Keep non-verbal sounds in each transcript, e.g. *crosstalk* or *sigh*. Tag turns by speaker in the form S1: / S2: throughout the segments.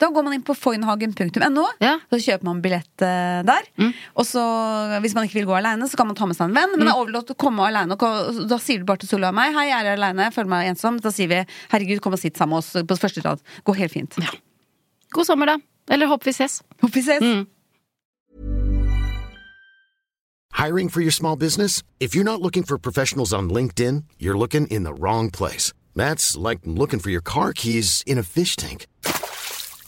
S1: Da går man inn på foynhagen.no,
S2: Ja. Mm.
S1: så kjøper man billett eh, der. Og så, hvis man ikke vil gå aleine, så kan man ta med seg en venn. Men
S2: Mm.
S1: det er overlatt å komme aleine. Da sier du bare til Solveig og meg 'Hei, jeg er aleine, føler meg ensom'. Da sier vi 'Herregud, kom og sitt sammen med oss på første rad'. Går helt fint.
S2: God sommer, da. Eller håper vi ses.
S1: Håper vi ses.
S2: Mm.
S3: Hiring for your small business? If you're not looking for professionals on LinkedIn, you're looking in the wrong place. That's like looking for your car keys in a fish tank.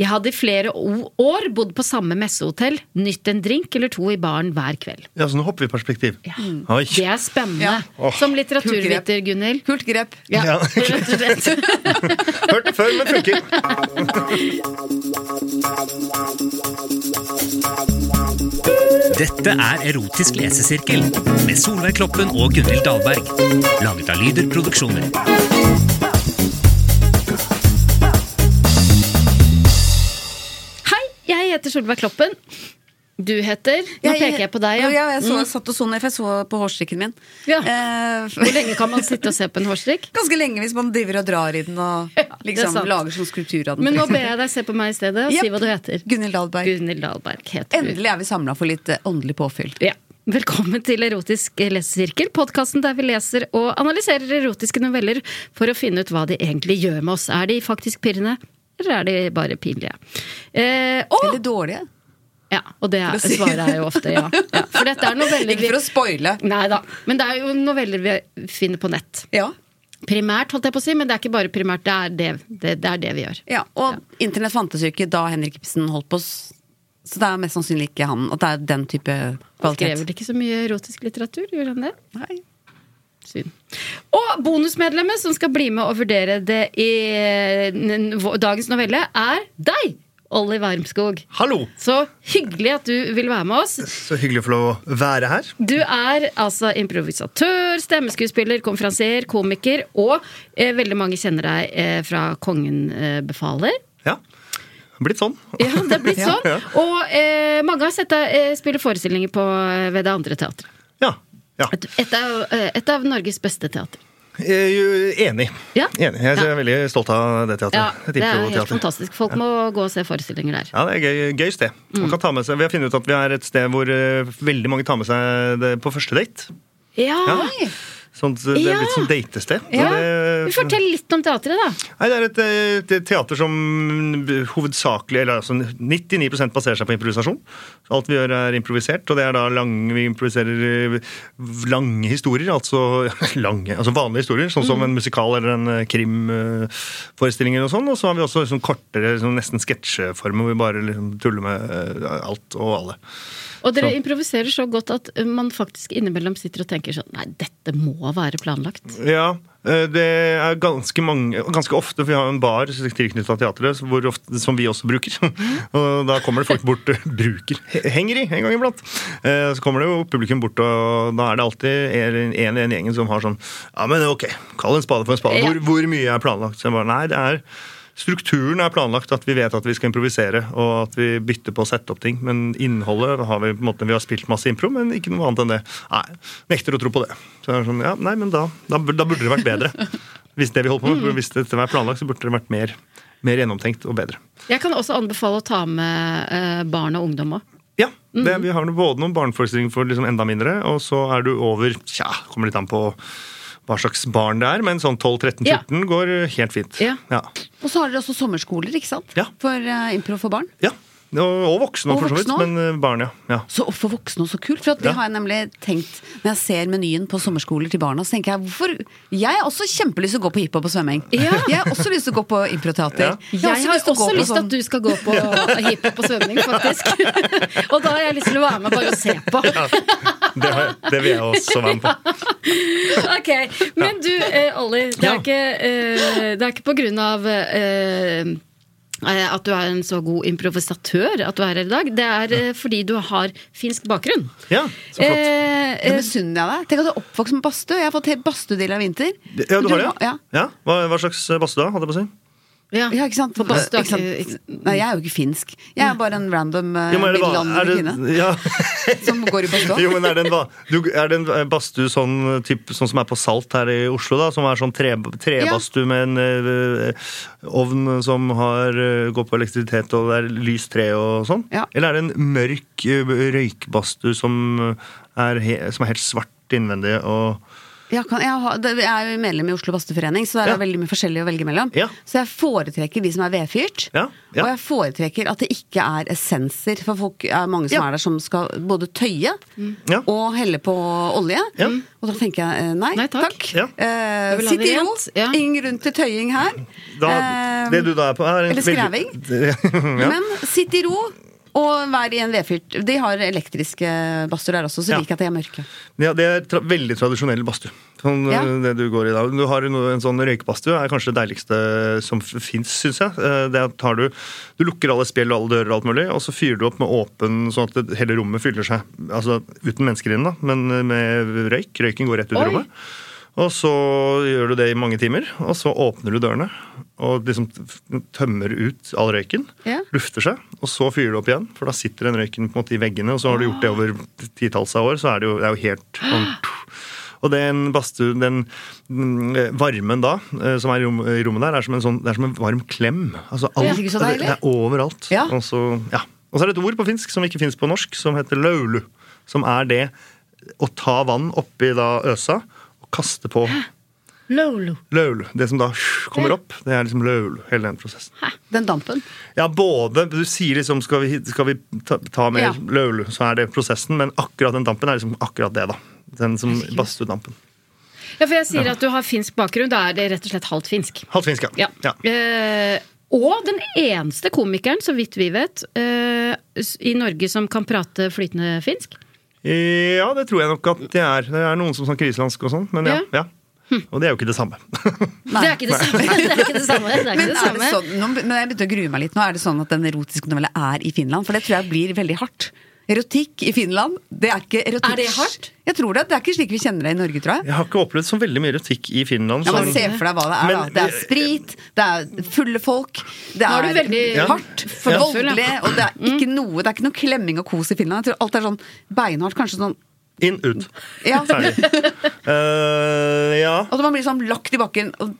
S2: Jeg hadde i flere o- år bodd på samme messehotell, nytt en drink eller to i baren hver kveld.
S4: Ja, så nå hopper vi i perspektiv. Oi.
S2: Det er spennende.
S1: Ja.
S2: Som litteraturviter, Gunhild.
S1: Kult grep.
S2: Ja, *laughs*
S4: Ja.
S2: rett og slett.
S4: Hørt det før, men funker.
S5: Dette er Erotisk lesesirkel med Solveig Kloppen og Gunhild Dahlberg. Laget av Lyder Produksjoner.
S2: Hei, jeg heter Solveig Kloppen. Du heter Nå peker jeg på deg,
S1: ja.
S2: ja. Mm.
S1: jeg så, satt og så ned, for jeg så på hårstrikken min.
S2: Ja.
S1: Eh,
S2: Mm. Hvor lenge kan man sitte og se på en hårstrikk?
S1: *laughs* Ganske lenge hvis man driver og drar i den og
S2: det er
S1: liksom,
S2: sant.
S1: lager sånn skulptur av den.
S2: Men nå
S1: for
S2: ber jeg deg se på meg i stedet og si
S1: Jepp.
S2: hva du heter.
S1: Gunhild Dahlberg.
S2: Gunhild Dahlberg heter du.
S1: Endelig er vi samla for litt eh, åndelig påfyll.
S2: Ja. Velkommen til Erotisk lesesirkel, podkasten der vi leser og analyserer erotiske noveller for å finne ut hva de egentlig gjør med oss. Er de faktisk pirrende, eller er de bare pinlige? Eh, og,
S1: Eller dårlige.
S2: ja, og det er, svaret er jo ofte ja. ja. For dette er noveller
S1: *laughs* Ikke
S2: vi
S1: for å spoile.
S2: Nei da. Men det er jo noveller vi finner på nett.
S1: Ja.
S2: Primært, holdt jeg på å si, men det er ikke bare primært. Det er det, det, det, er det vi gjør.
S1: ja. Og internett fantes jo ikke da Henrik Ibsen holdt på, s- så det er mest sannsynlig ikke han. At det er den type
S2: Skrev
S1: kvalitet.
S2: vel ikke så mye erotisk litteratur, gjorde han det?
S1: Nei.
S2: Synd. Og bonusmedlemmet som skal bli med og vurdere det i eh, n- vår- dagens novelle, er deg, Olli Wermskog.
S4: Hallo!
S2: Så hyggelig at du vil være med oss.
S4: Så hyggelig å få lov å være her.
S2: Du er altså improvisatør, stemmeskuespiller, konferansier, komiker, og eh, veldig mange kjenner deg eh, fra Kongen eh, befaler.
S4: Ja. Blitt sånn.
S2: *laughs* Ja, det er blitt sånn. Og eh, mange har sett deg eh, spille forestillinger på, eh, ved det andre teatret.
S4: Ja. ja.
S2: Et, et, av, eh, et av Norges beste teater.
S4: Jeg er Eh, jo enig.
S2: Ja.
S4: enig. Jeg er
S2: Ja.
S4: veldig stolt av det teatret.
S2: Ja,
S4: Et
S2: det er helt
S4: improteater.
S2: fantastisk. Folk må gå og se forestillinger der.
S4: Ja, det er gøy, gøy sted.
S2: Mm.
S4: Man kan ta med seg, vi har funnet ut at vi er et sted hvor eh, veldig mange tar med seg det på første date.
S2: Ja,
S4: Ja. Sånn, at det
S2: Ja.
S4: er blitt som datested. Og
S2: ja.
S4: det-
S2: Vi Fortell litt om teatret, da.
S4: Nei, det er et, eh, te- teater som hovedsakelig, eller altså 99 baserer seg på improvisasjon. Alt vi gjør er improvisert, og det er da lang, vi improviserer eh, lange historier, altså, *laughs* lange, altså vanlige historier, sånn som en musikal eller en krimforestilling eller noe sånt, og så har vi sånn også liksom kortere, liksom nesten sketsjeformer hvor vi bare liksom tuller med eh, alt og alle.
S2: Og dere
S4: Så-
S2: improviserer så godt at eh, man faktisk innimellom sitter og tenker sånn Nei, dette må være planlagt.
S4: Ja, eh, det er ganske mange Ganske ofte, for vi har en bar tilknytta teatret hvor ofte, som vi også bruker. *laughs* Og da kommer det folk bort eh, Bruker! Henger i, en gang iblant. Eh, Så kommer det jo publikum bort, og da er det alltid en en i den gjengen som har sånn Ja, men ok, kall en spade for en spade.
S2: Ja.
S4: Hvor, hvor mye er planlagt? Så jeg bare, nei, det er Strukturen er planlagt, at vi vet at vi skal improvisere. Og at vi bytter på å sette opp ting. Men innholdet har vi på en måte, vi har spilt masse impro, men ikke noe annet enn det. Nei, Nekter å tro på det. Så det er sånn, ja, nei, men da, da, bur- da burde det
S2: *laughs*
S4: vært bedre. Hvis det vi holdt på
S2: Mm.
S4: med, hvis dette var planlagt, så burde det vært mer, mer gjennomtenkt og bedre.
S2: Jeg kan også anbefale å ta med eh, barn og ungdom òg.
S4: Ja,
S2: Mm.
S4: det, Vi har nå både noen barneforestillinger for liksom enda mindre, og så er du over Tja, kommer litt an på hva slags barn det er, men sånn 12-13-14
S2: Ja.
S4: går helt fint.
S2: Ja.
S4: ja.
S1: Og så har dere også sommerskoler, ikke sant?
S4: Ja.
S1: For eh, impro for barn.
S4: Ja, Og, og voksne,
S1: Og
S4: for så vidt.
S1: voksne også?
S4: Men eh, barn, ja. ja.
S1: Så og for voksne også kult. For at det
S4: Ja.
S1: har jeg nemlig tenkt Når jeg ser menyen på sommerskoler til barna, så tenker jeg hvorfor Jeg har også kjempelyst til å gå på hiphop og svømming.
S2: Ja.
S1: *laughs* Jeg har også lyst til å gå på improteater.
S4: Ja.
S2: Jeg har også lyst til
S1: sånn-
S2: at du skal gå på sånn.
S4: *laughs*
S2: hiphop og svømming, faktisk. *laughs* og da har jeg lyst til å være med bare og se på.
S4: Det,
S1: *laughs*
S4: har, jeg- det vil jeg også være med på.
S2: Ok, Men du, eh, Olli. Det
S4: Ja.
S2: er, ikke, eh, det er ikke på grunn av eh, eh, at du er en så god improvisatør at du er her i dag. Det er eh, fordi du har finsk bakgrunn.
S4: Ja, så flott.
S1: Det
S2: Eh, eh,
S1: misunner jeg deg. Tenk at du er oppvokst med badstue. Jeg har fått helt badstuedill av vinter.
S4: Ja, du har det?
S1: Ja.
S4: Ja. ja. Hva, hva slags eh, badstue da, hadde jeg på å si?
S2: ja.
S1: Ja, ikke sant?
S2: For badstue er
S1: Ikke sant?
S2: ikke-
S1: Nei, jeg er jo ikke finsk. Jeg er bare en random eh,
S4: Ja, men er det hva- er
S1: middelaldrende
S4: det-
S1: kvinne *laughs*
S4: ja.
S1: som går i badstue.
S4: Jo, men er det en, ba- du, er det en eh, badstue sånn, typ, sånn som er på Salt her i Oslo, da? Som er sånn tre, trebadstue med en eh, ovn som har, eh, går på elektrisitet, og det er lyst tre og sånn?
S1: Ja.
S4: Eller er det en mørk eh, røykbadstue som, eh, er he- som er helt svart innvendig og
S1: Ja, kan, jeg, har, det- jeg er jo medlem i Oslo Badstueforening, så der er
S4: Ja.
S1: det veldig mye forskjellig å velge mellom.
S4: Ja.
S1: Så jeg foretrekker de som er vedfyrt,
S4: Ja, ja.
S1: og jeg foretrekker at det ikke er essenser. For folk er mange som
S4: Ja. Mm.
S1: er der som skal både tøye
S4: Ja.
S1: og helle på olje.
S4: Ja.
S1: Og da tenker jeg eh, nei,
S2: Nei, takk.
S1: takk.
S4: Ja.
S2: Jeg
S1: Eh,
S2: vil ha
S1: sitt
S2: det
S1: i ro,
S2: rent, ja.
S1: ingen grunn til tøying her.
S4: da,
S1: Eh,
S4: Det du da er på, er en
S1: eller
S4: veldig- ja.
S1: Men sitt i ro. Og vær i en vedfyrt. De har elektriske badstuer der også, så
S4: Ja.
S1: lik at de er mørke.
S4: *laughs* Ja, Det er tra veldig tradisjonell badstue. Sånn,
S1: Ja.
S4: eh, det Du går i dag. Du har en, en sånn røykbadstue er kanskje det deiligste som fins, syns jeg. Eh, Det tar du, du lukker alle spjeld og alle dører, og alt mulig, og så fyrer du opp med åpen, sånn at det, hele rommet fyller seg. Altså uten mennesker inne, da, men eh, med røyk. Røyken går rett ut i
S2: Oi.
S4: rommet. Og så gjør du det i mange timer, og så åpner du dørene og liksom t- tømmer ut all røyken.
S1: Ja.
S4: Lufter seg, og så fyrer du opp igjen, for da sitter den røyken på en måte i veggene. Og så har du gjort det over titalls av år, så er det jo, det er jo helt sånn, Og den badstue, den mm, eh, varmen da, eh, som er i rom- i rommet der, er som en, sånn, det er som en varm klem. Altså alt,
S1: Det er så
S4: det,
S1: deilig.
S4: det er overalt.
S1: Ja.
S4: Og, så, ja. og så er det et ord på finsk som ikke fins på norsk, som heter laulu. Som er det å ta vann oppi da øsa og kaste på
S2: Lolo.
S4: laulu. Det som da kommer opp, det er liksom laulu. Hele den prosessen.
S1: Den dampen.
S4: Ja, både Du sier liksom skal vi, skal vi ta, ta mer
S1: Ja.
S4: laulu, så er det prosessen, men akkurat den dampen er liksom akkurat det, da. Den som badstuedampen.
S2: Ja, for jeg sier at du har finsk bakgrunn. Da er det rett og slett halvt finsk.
S4: Halvt finsk, ja.
S2: Ja. Eh, og den eneste komikeren, så vidt vi vet, eh, s- i Norge som kan prate flytende finsk.
S4: Ja, det tror jeg nok at det er. Det er noen som snakker islandsk og sånn, men ja. ja. Og det er jo ikke det samme. *laughs*
S2: Det er ikke det samme! Det er ikke det samme. Det er ikke
S1: Men,
S2: det
S1: er
S2: samme.
S1: det sånn, nå, men jeg begynte å grue meg litt. Nå er det sånn at den erotiske novella er i Finland, for det tror jeg blir veldig hardt. Erotikk i Finland, det er ikke erotikk.
S2: Er det hardt?
S1: Jeg tror det. Det er ikke slik vi kjenner det i Norge, tror jeg.
S4: Jeg har ikke opplevd så veldig mye erotikk i Finland.
S1: Ja, men
S4: så-
S1: Se for deg hva det er.
S4: sånn.
S1: da.
S4: Men-
S1: Det er sprit, det er fulle folk, det
S2: Nå er
S1: er,
S2: du veldig Ja.
S1: hardt,
S2: Ja.
S1: voldelig, og det er ikke noe Det er ikke noe klemming og kos i Finland. Jeg tror alt er sånn beinhardt, kanskje sånn
S4: Inn, ut.
S1: Ja. *laughs*
S4: Ferdig. Eh, ja.
S1: Og man blir sånn lagt i bakken og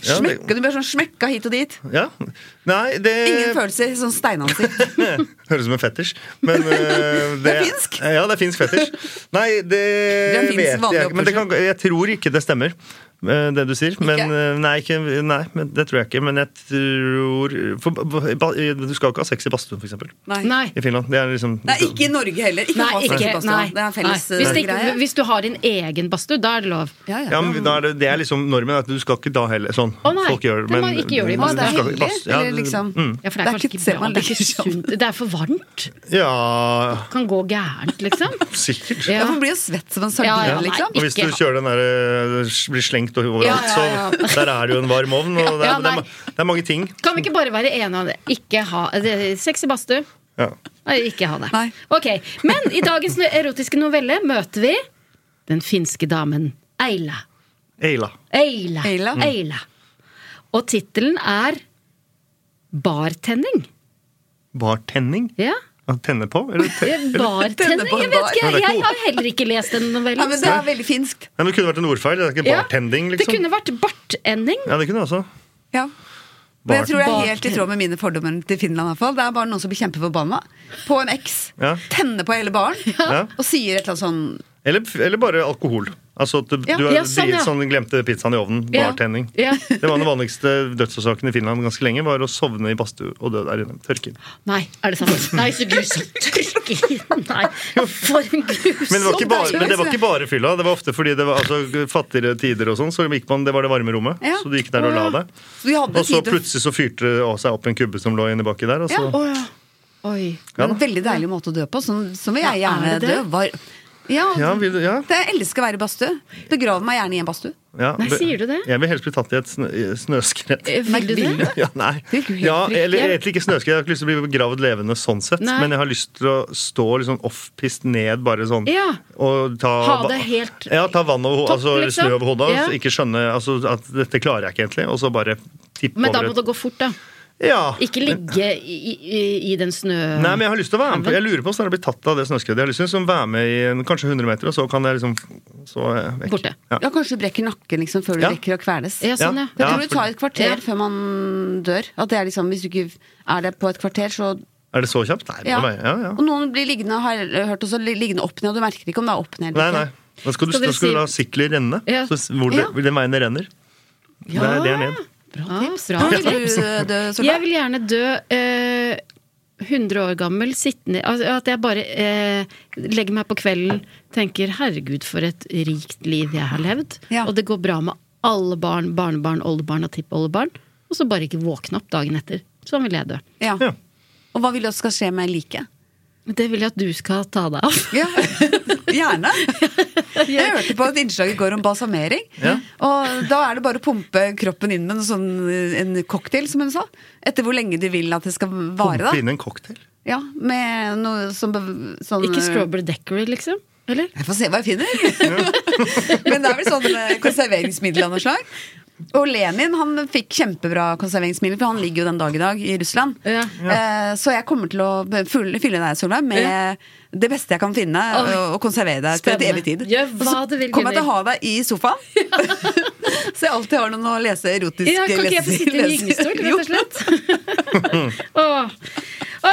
S4: Ja, det-
S1: smekka, du blir sånn smekka hit og dit.
S4: ja. Nei, det
S1: Ingen følelser, sånn steinansikt.
S4: Høres ut som en fetisj, men eh,
S1: *laughs* Det er finsk.
S4: Ja, det er finsk fetisj. Nei, det,
S1: Det er en finsk
S4: vet
S1: vanlig
S4: jeg ikke. Men det kan, jeg tror ikke det stemmer. eh, det du sier. Men, eh, nei, ikke, nei men det tror jeg ikke. Men jeg tror for, ba- ba- Du skal jo ikke ha sex i badstuen, f.eks.
S1: Nei.
S2: Nei.
S4: I Finland. Det er liksom
S1: Nei, ikke i Norge heller. Ikke
S2: Nei,
S1: ha sex i
S2: ikke,
S1: badstue.
S2: nei,
S1: Det er en felles
S2: nei. Hvis,
S1: eh,
S2: det, ikke-
S1: greie.
S2: hvis du har din egen badstue, da er det lov.
S1: ja,
S4: Ja, men da er det, det er liksom normen at du skal ikke da heller sånn.
S2: Å, nei,
S4: folk gjør
S2: det må ikke gjøre det i
S4: men
S1: Å, det
S4: du
S1: er
S4: altså, skal-
S1: hellig,
S4: bass- ja,
S1: eller
S4: det-
S1: liksom
S4: mm.
S2: Ja, for det er, kanskje ikke bra.
S1: selv om
S2: Det er, ikke
S1: sånn.
S2: sunt. det er for varmt.
S4: Ja,
S2: Kan gå gærent, liksom.
S1: *laughs*
S4: sikkert.
S2: Ja.
S1: Ja, man blir jo svett som en sardin,
S2: Ja, ja, nei.
S1: liksom.
S4: Og hvis du
S2: Ikke-
S4: kjører den der, eh, blir slengt overalt,
S1: Ja, ja, ja.
S4: så *laughs* der er det jo en varm ovn. Og det, er,
S2: Ja,
S4: det, er,
S2: nei.
S4: ma- det er mange ting.
S2: Kan vi ikke bare være enige om det? Ikke ha eh, det- sex i badstue?
S4: Ja.
S2: Nei, ikke ha det.
S1: Nei.
S2: Ok, Men i dagens no- erotiske novelle møter vi den finske damen Eila.
S4: Eila.
S2: Eila.
S1: Eila. Mm.
S2: Eila. Og tittelen er Bartenning.
S4: Bartenning?
S1: *laughs*
S2: Ja.
S4: Å Tenne på? Eller te
S2: Eh, Bartenning?
S1: Tenne på en
S2: Jeg vet
S1: bar.
S2: ikke,
S4: Nei, det er ikke
S2: jeg har heller ikke lest den
S1: Ja,
S2: novellen.
S1: men det er veldig finsk.
S4: Nei, men det kunne vært en ordfeil. Det er ikke
S2: Ja.
S4: bartending,
S2: Det
S4: liksom.
S2: kunne vært bartending.
S4: Ja, det kunne også.
S1: Ja. Men jeg
S4: Bart-
S1: tror jeg
S2: Bart-
S1: er helt i tråd med mine fordommer til Finland. i hvert fall Det er bare noen som blir kjempeforbanna på en eks.
S4: Ja.
S1: Tenner på hele baren
S4: Ja.
S1: og sier et eller annet sånn
S4: Eller, eller bare alkohol. Altså at du,
S1: Ja.
S4: du er,
S2: Ja, sånn,
S4: de
S2: ja.
S4: sånn glemte pizzaen i ovnen.
S2: Ja.
S4: Bartenning.
S2: Ja.
S4: Det var den vanligste dødsårsaken i Finland ganske lenge. Var å sovne i badstue og dø der inne. Tørke inn.
S2: Nei, er det sant? Nei, så grusomt. Trykke inn. Nei, for en grusom
S4: Men det, var ikke bare,
S2: dag.
S4: men det var ikke bare fylla. Det var ofte fordi det var altså, fattigere tider og sånn. Så gikk man, det var det varme rommet.
S1: Ja.
S4: Så du gikk der og la
S1: Å, ja.
S4: deg.
S1: Så vi hadde
S4: Og så
S1: tid til å-
S4: plutselig så fyrte det av seg opp en kubbe som lå inni baki der. Og
S1: Ja.
S4: så,
S2: Å ja. Oi.
S4: Ja
S1: En
S4: da.
S1: veldig deilig måte å dø på, som, som vil jeg
S2: Ja,
S1: gjerne
S2: er det
S1: dø.
S2: det?
S1: Var, ja,
S4: Ja, vil du- ja.
S1: Det, jeg elsker å være i badstue. Begrav meg gjerne i en badstue.
S4: ja.
S2: Nei, sier du det?
S4: Jeg vil helst bli tatt i et snø, i et snøskred.
S2: Eh, Vil du
S1: Vil
S2: det?
S4: *laughs* Ja, nei.
S1: Det er jo helt
S4: Ja,
S1: fryktelig.
S4: eller egentlig ikke snøskred. Jeg har ikke lyst til å bli begravd levende sånn sett.
S2: Nei.
S4: Men jeg har lyst til å stå liksom offpist ned, bare sånn.
S2: Ja.
S4: Og ta,
S2: Ha det helt
S4: ja, ta vann over hodet,
S2: topp,
S4: altså
S2: liksom.
S4: snø over hodet. og
S2: Ja.
S4: så Ikke skjønne altså, at dette klarer jeg ikke egentlig. Og så bare tippe
S2: Men da
S4: over
S2: må det gå fort, da.
S4: Ja.
S2: Ikke ligge i, i, i den snø...
S4: Nei, men jeg har lyst til å være med på Jeg lurer på hvordan jeg blir tatt av det snøskredet. Jeg har lyst til å liksom være med i en, kanskje 100 meter, og så kan jeg liksom så er jeg vekk.
S2: Borte.
S4: Ja.
S1: Ja, Kanskje du brekker nakken liksom, før du
S4: Ja.
S1: rekker å kveles.
S2: Ja, sånn, ja.
S1: Jeg
S4: Ja,
S1: tror det tar et kvarter
S2: Ja.
S1: før man dør. At det er liksom, Hvis du ikke er det på et kvarter, så
S4: Er det så kjapt? Nei,
S1: ja.
S4: men- ja, ja.
S1: Og noen blir liggende, har jeg hørt også, li- liggende opp ned, og du merker ikke om det er opp ned. liksom.
S4: nei,
S1: eller
S4: nei.
S1: ikke.
S4: Da skal du,
S2: Skal dere
S4: da skal
S2: si-
S4: du la sikler renne.
S2: Ja.
S4: Så s- hvor det, den veien det renner. Det er- det er ned.
S2: Bra tips.
S1: Hvordan
S2: Ah, bra
S1: vil
S2: tips.
S1: du dø, Solveig?
S2: Jeg vil gjerne dø eh, 100 år gammel, sittende altså, At jeg bare eh, legger meg på kvelden, tenker 'herregud, for et rikt liv jeg har levd',
S1: Ja.
S2: og det går bra med alle barn, barnebarn, oldebarn og tippoldebarn, og så bare ikke våkne opp dagen etter. Sånn vil jeg dø.
S1: Ja.
S4: Ja.
S1: Og hva vil du også skal skje med liket?
S2: Det vil jeg at du skal ta deg av.
S1: Ja, gjerne. Jeg hørte på et innslag i går om balsamering.
S4: Ja.
S1: Og da er det bare å pumpe kroppen inn med en, sånn, en cocktail, som hun sa. Etter hvor lenge du vil at det skal vare,
S4: Pumpe
S1: da.
S4: inn en cocktail.
S1: Ja, med noe som bev- sånn,
S2: Ikke strawberry decory, liksom? Eller?
S1: Jeg får se hva jeg finner. *laughs* Men det er vel sånn eh, konserveringsmiddel av noe slag. Og Lenin han fikk kjempebra konserveringsmiddel, for han ligger jo den dag i dag i Russland.
S2: Ja.
S1: Eh, Så jeg kommer til å be- fylle, fylle deg, Solveig, med
S2: Ja.
S1: det beste jeg kan finne,
S2: Oi.
S1: og- og konservere deg til et
S2: Spennende.
S1: evig tid.
S2: Gjør
S1: og
S2: hva du vil,
S1: kommer jeg til å
S2: Gunnhild.
S1: ha deg i
S2: *laughs*
S1: sofaen, *laughs* så jeg alltid har noen å lese erotisk
S2: Ja, kan ikke jeg få
S1: lese-
S2: sitte i en
S1: lese-
S2: gyngestol,
S1: Jo.
S2: rett og slett? *laughs* Åh.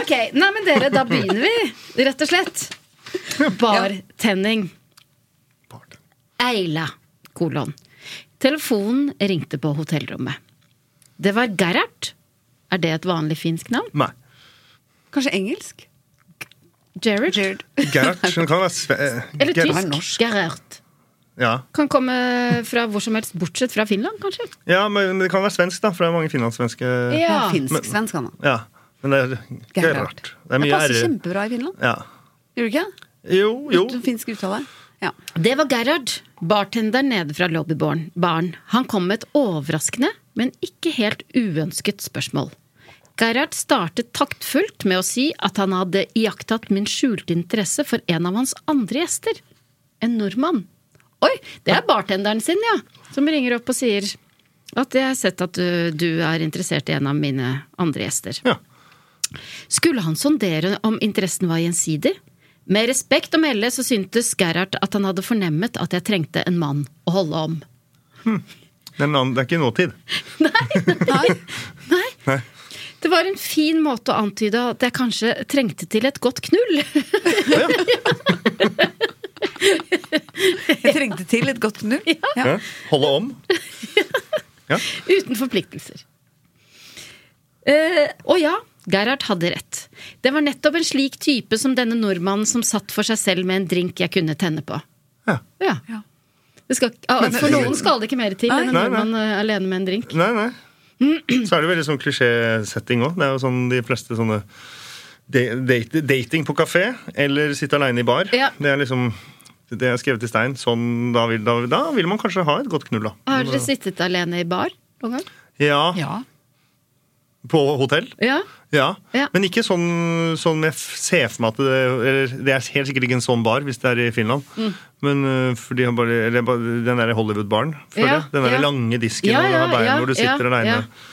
S2: Ok. Nei, men dere, da begynner vi, rett og slett. Bartenning. Eila, kolon. Telefonen ringte på hotellrommet. Det var Gerhard. Er det et vanlig finsk navn?
S4: Nei.
S1: Kanskje engelsk?
S2: Gerhard?
S1: Jared.
S4: Gerhard. Hun kan være sve... eh,
S2: *laughs* Eller
S4: Gerhard.
S2: tysk? Gerhard.
S4: Ja.
S2: Kan komme fra hvor som helst, bortsett fra Finland, kanskje?
S4: ja, men det kan være svensk, da, for det er mange finlandssvenske
S2: Ja.
S1: Finsk-svensk, han da.
S4: Ja. Men det er
S1: Gerhard.
S4: Gerhard. Det er mye
S1: passer
S4: ære.
S1: kjempebra i Finland.
S4: Ja.
S1: Gjør du ikke? det?
S4: Jo, jo.
S1: Du- Finsk uttale. Ja.
S2: Det var Gerhard, bartenderen nede fra lobbybaren. Baren. Han kom med et overraskende, men ikke helt uønsket spørsmål. Gerhard startet taktfullt med å si at han hadde iakttatt min skjulte interesse for en av hans andre gjester. En nordmann. Oi, det er bartenderen sin, ja, som ringer opp og sier at jeg har sett at du, du er interessert i en av mine andre gjester.
S4: Ja.
S2: Skulle han sondere om interessen var gjensidig? Med respekt å melde så syntes Gerhard at han hadde fornemmet at jeg trengte en mann å holde om.
S4: Det er, en annen, det er ikke nåtid.
S1: Nei.
S2: Nei. Det var en fin måte å antyde at jeg kanskje trengte til et godt knull.
S1: Jeg trengte til et et godt null. *laughs* Ja.
S4: Ja. Holde om.
S2: *laughs* Uten forpliktelser. Eh, og ja, Gerhard hadde rett. Det var nettopp en slik type som denne nordmannen som satt for seg selv med en drink jeg kunne tenne på.
S4: Ja.
S2: Ja.
S1: Ja.
S2: Det skal, ikke- ah, for noen skal det ikke mer til enn en
S4: Nei, nei.
S2: nordmann eh, alene med en drink.
S4: Nei, nei. Så er det veldig sånn klisjésetting òg. Det er jo sånn de fleste sånne de- date, Dating på kafé eller sitte aleine i bar.
S2: Ja.
S4: Det er liksom det er skrevet i stein. Sånn, da, vil, da, da vil man kanskje ha et godt knull, da.
S2: Har dere sittet alene i bar noen gang?
S4: Ja,
S1: Ja.
S4: På hotell.
S2: Ja.
S1: Mm.
S4: Ja.
S2: Ja.
S4: Men ikke sånn, sånn jeg f- ser for meg at det eller, Det er helt sikkert ikke en sånn bar hvis det er i Finland.
S2: Mm.
S4: Men øh, for de har bare, eller, bare den der Hollywood-baren, føler
S2: Ja,
S4: jeg. Den der
S2: ja.
S4: lange disken
S2: Ja,
S4: og den
S2: ja,
S4: der baren
S2: ja,
S4: hvor du sitter
S2: ja,
S4: aleine.
S2: ja.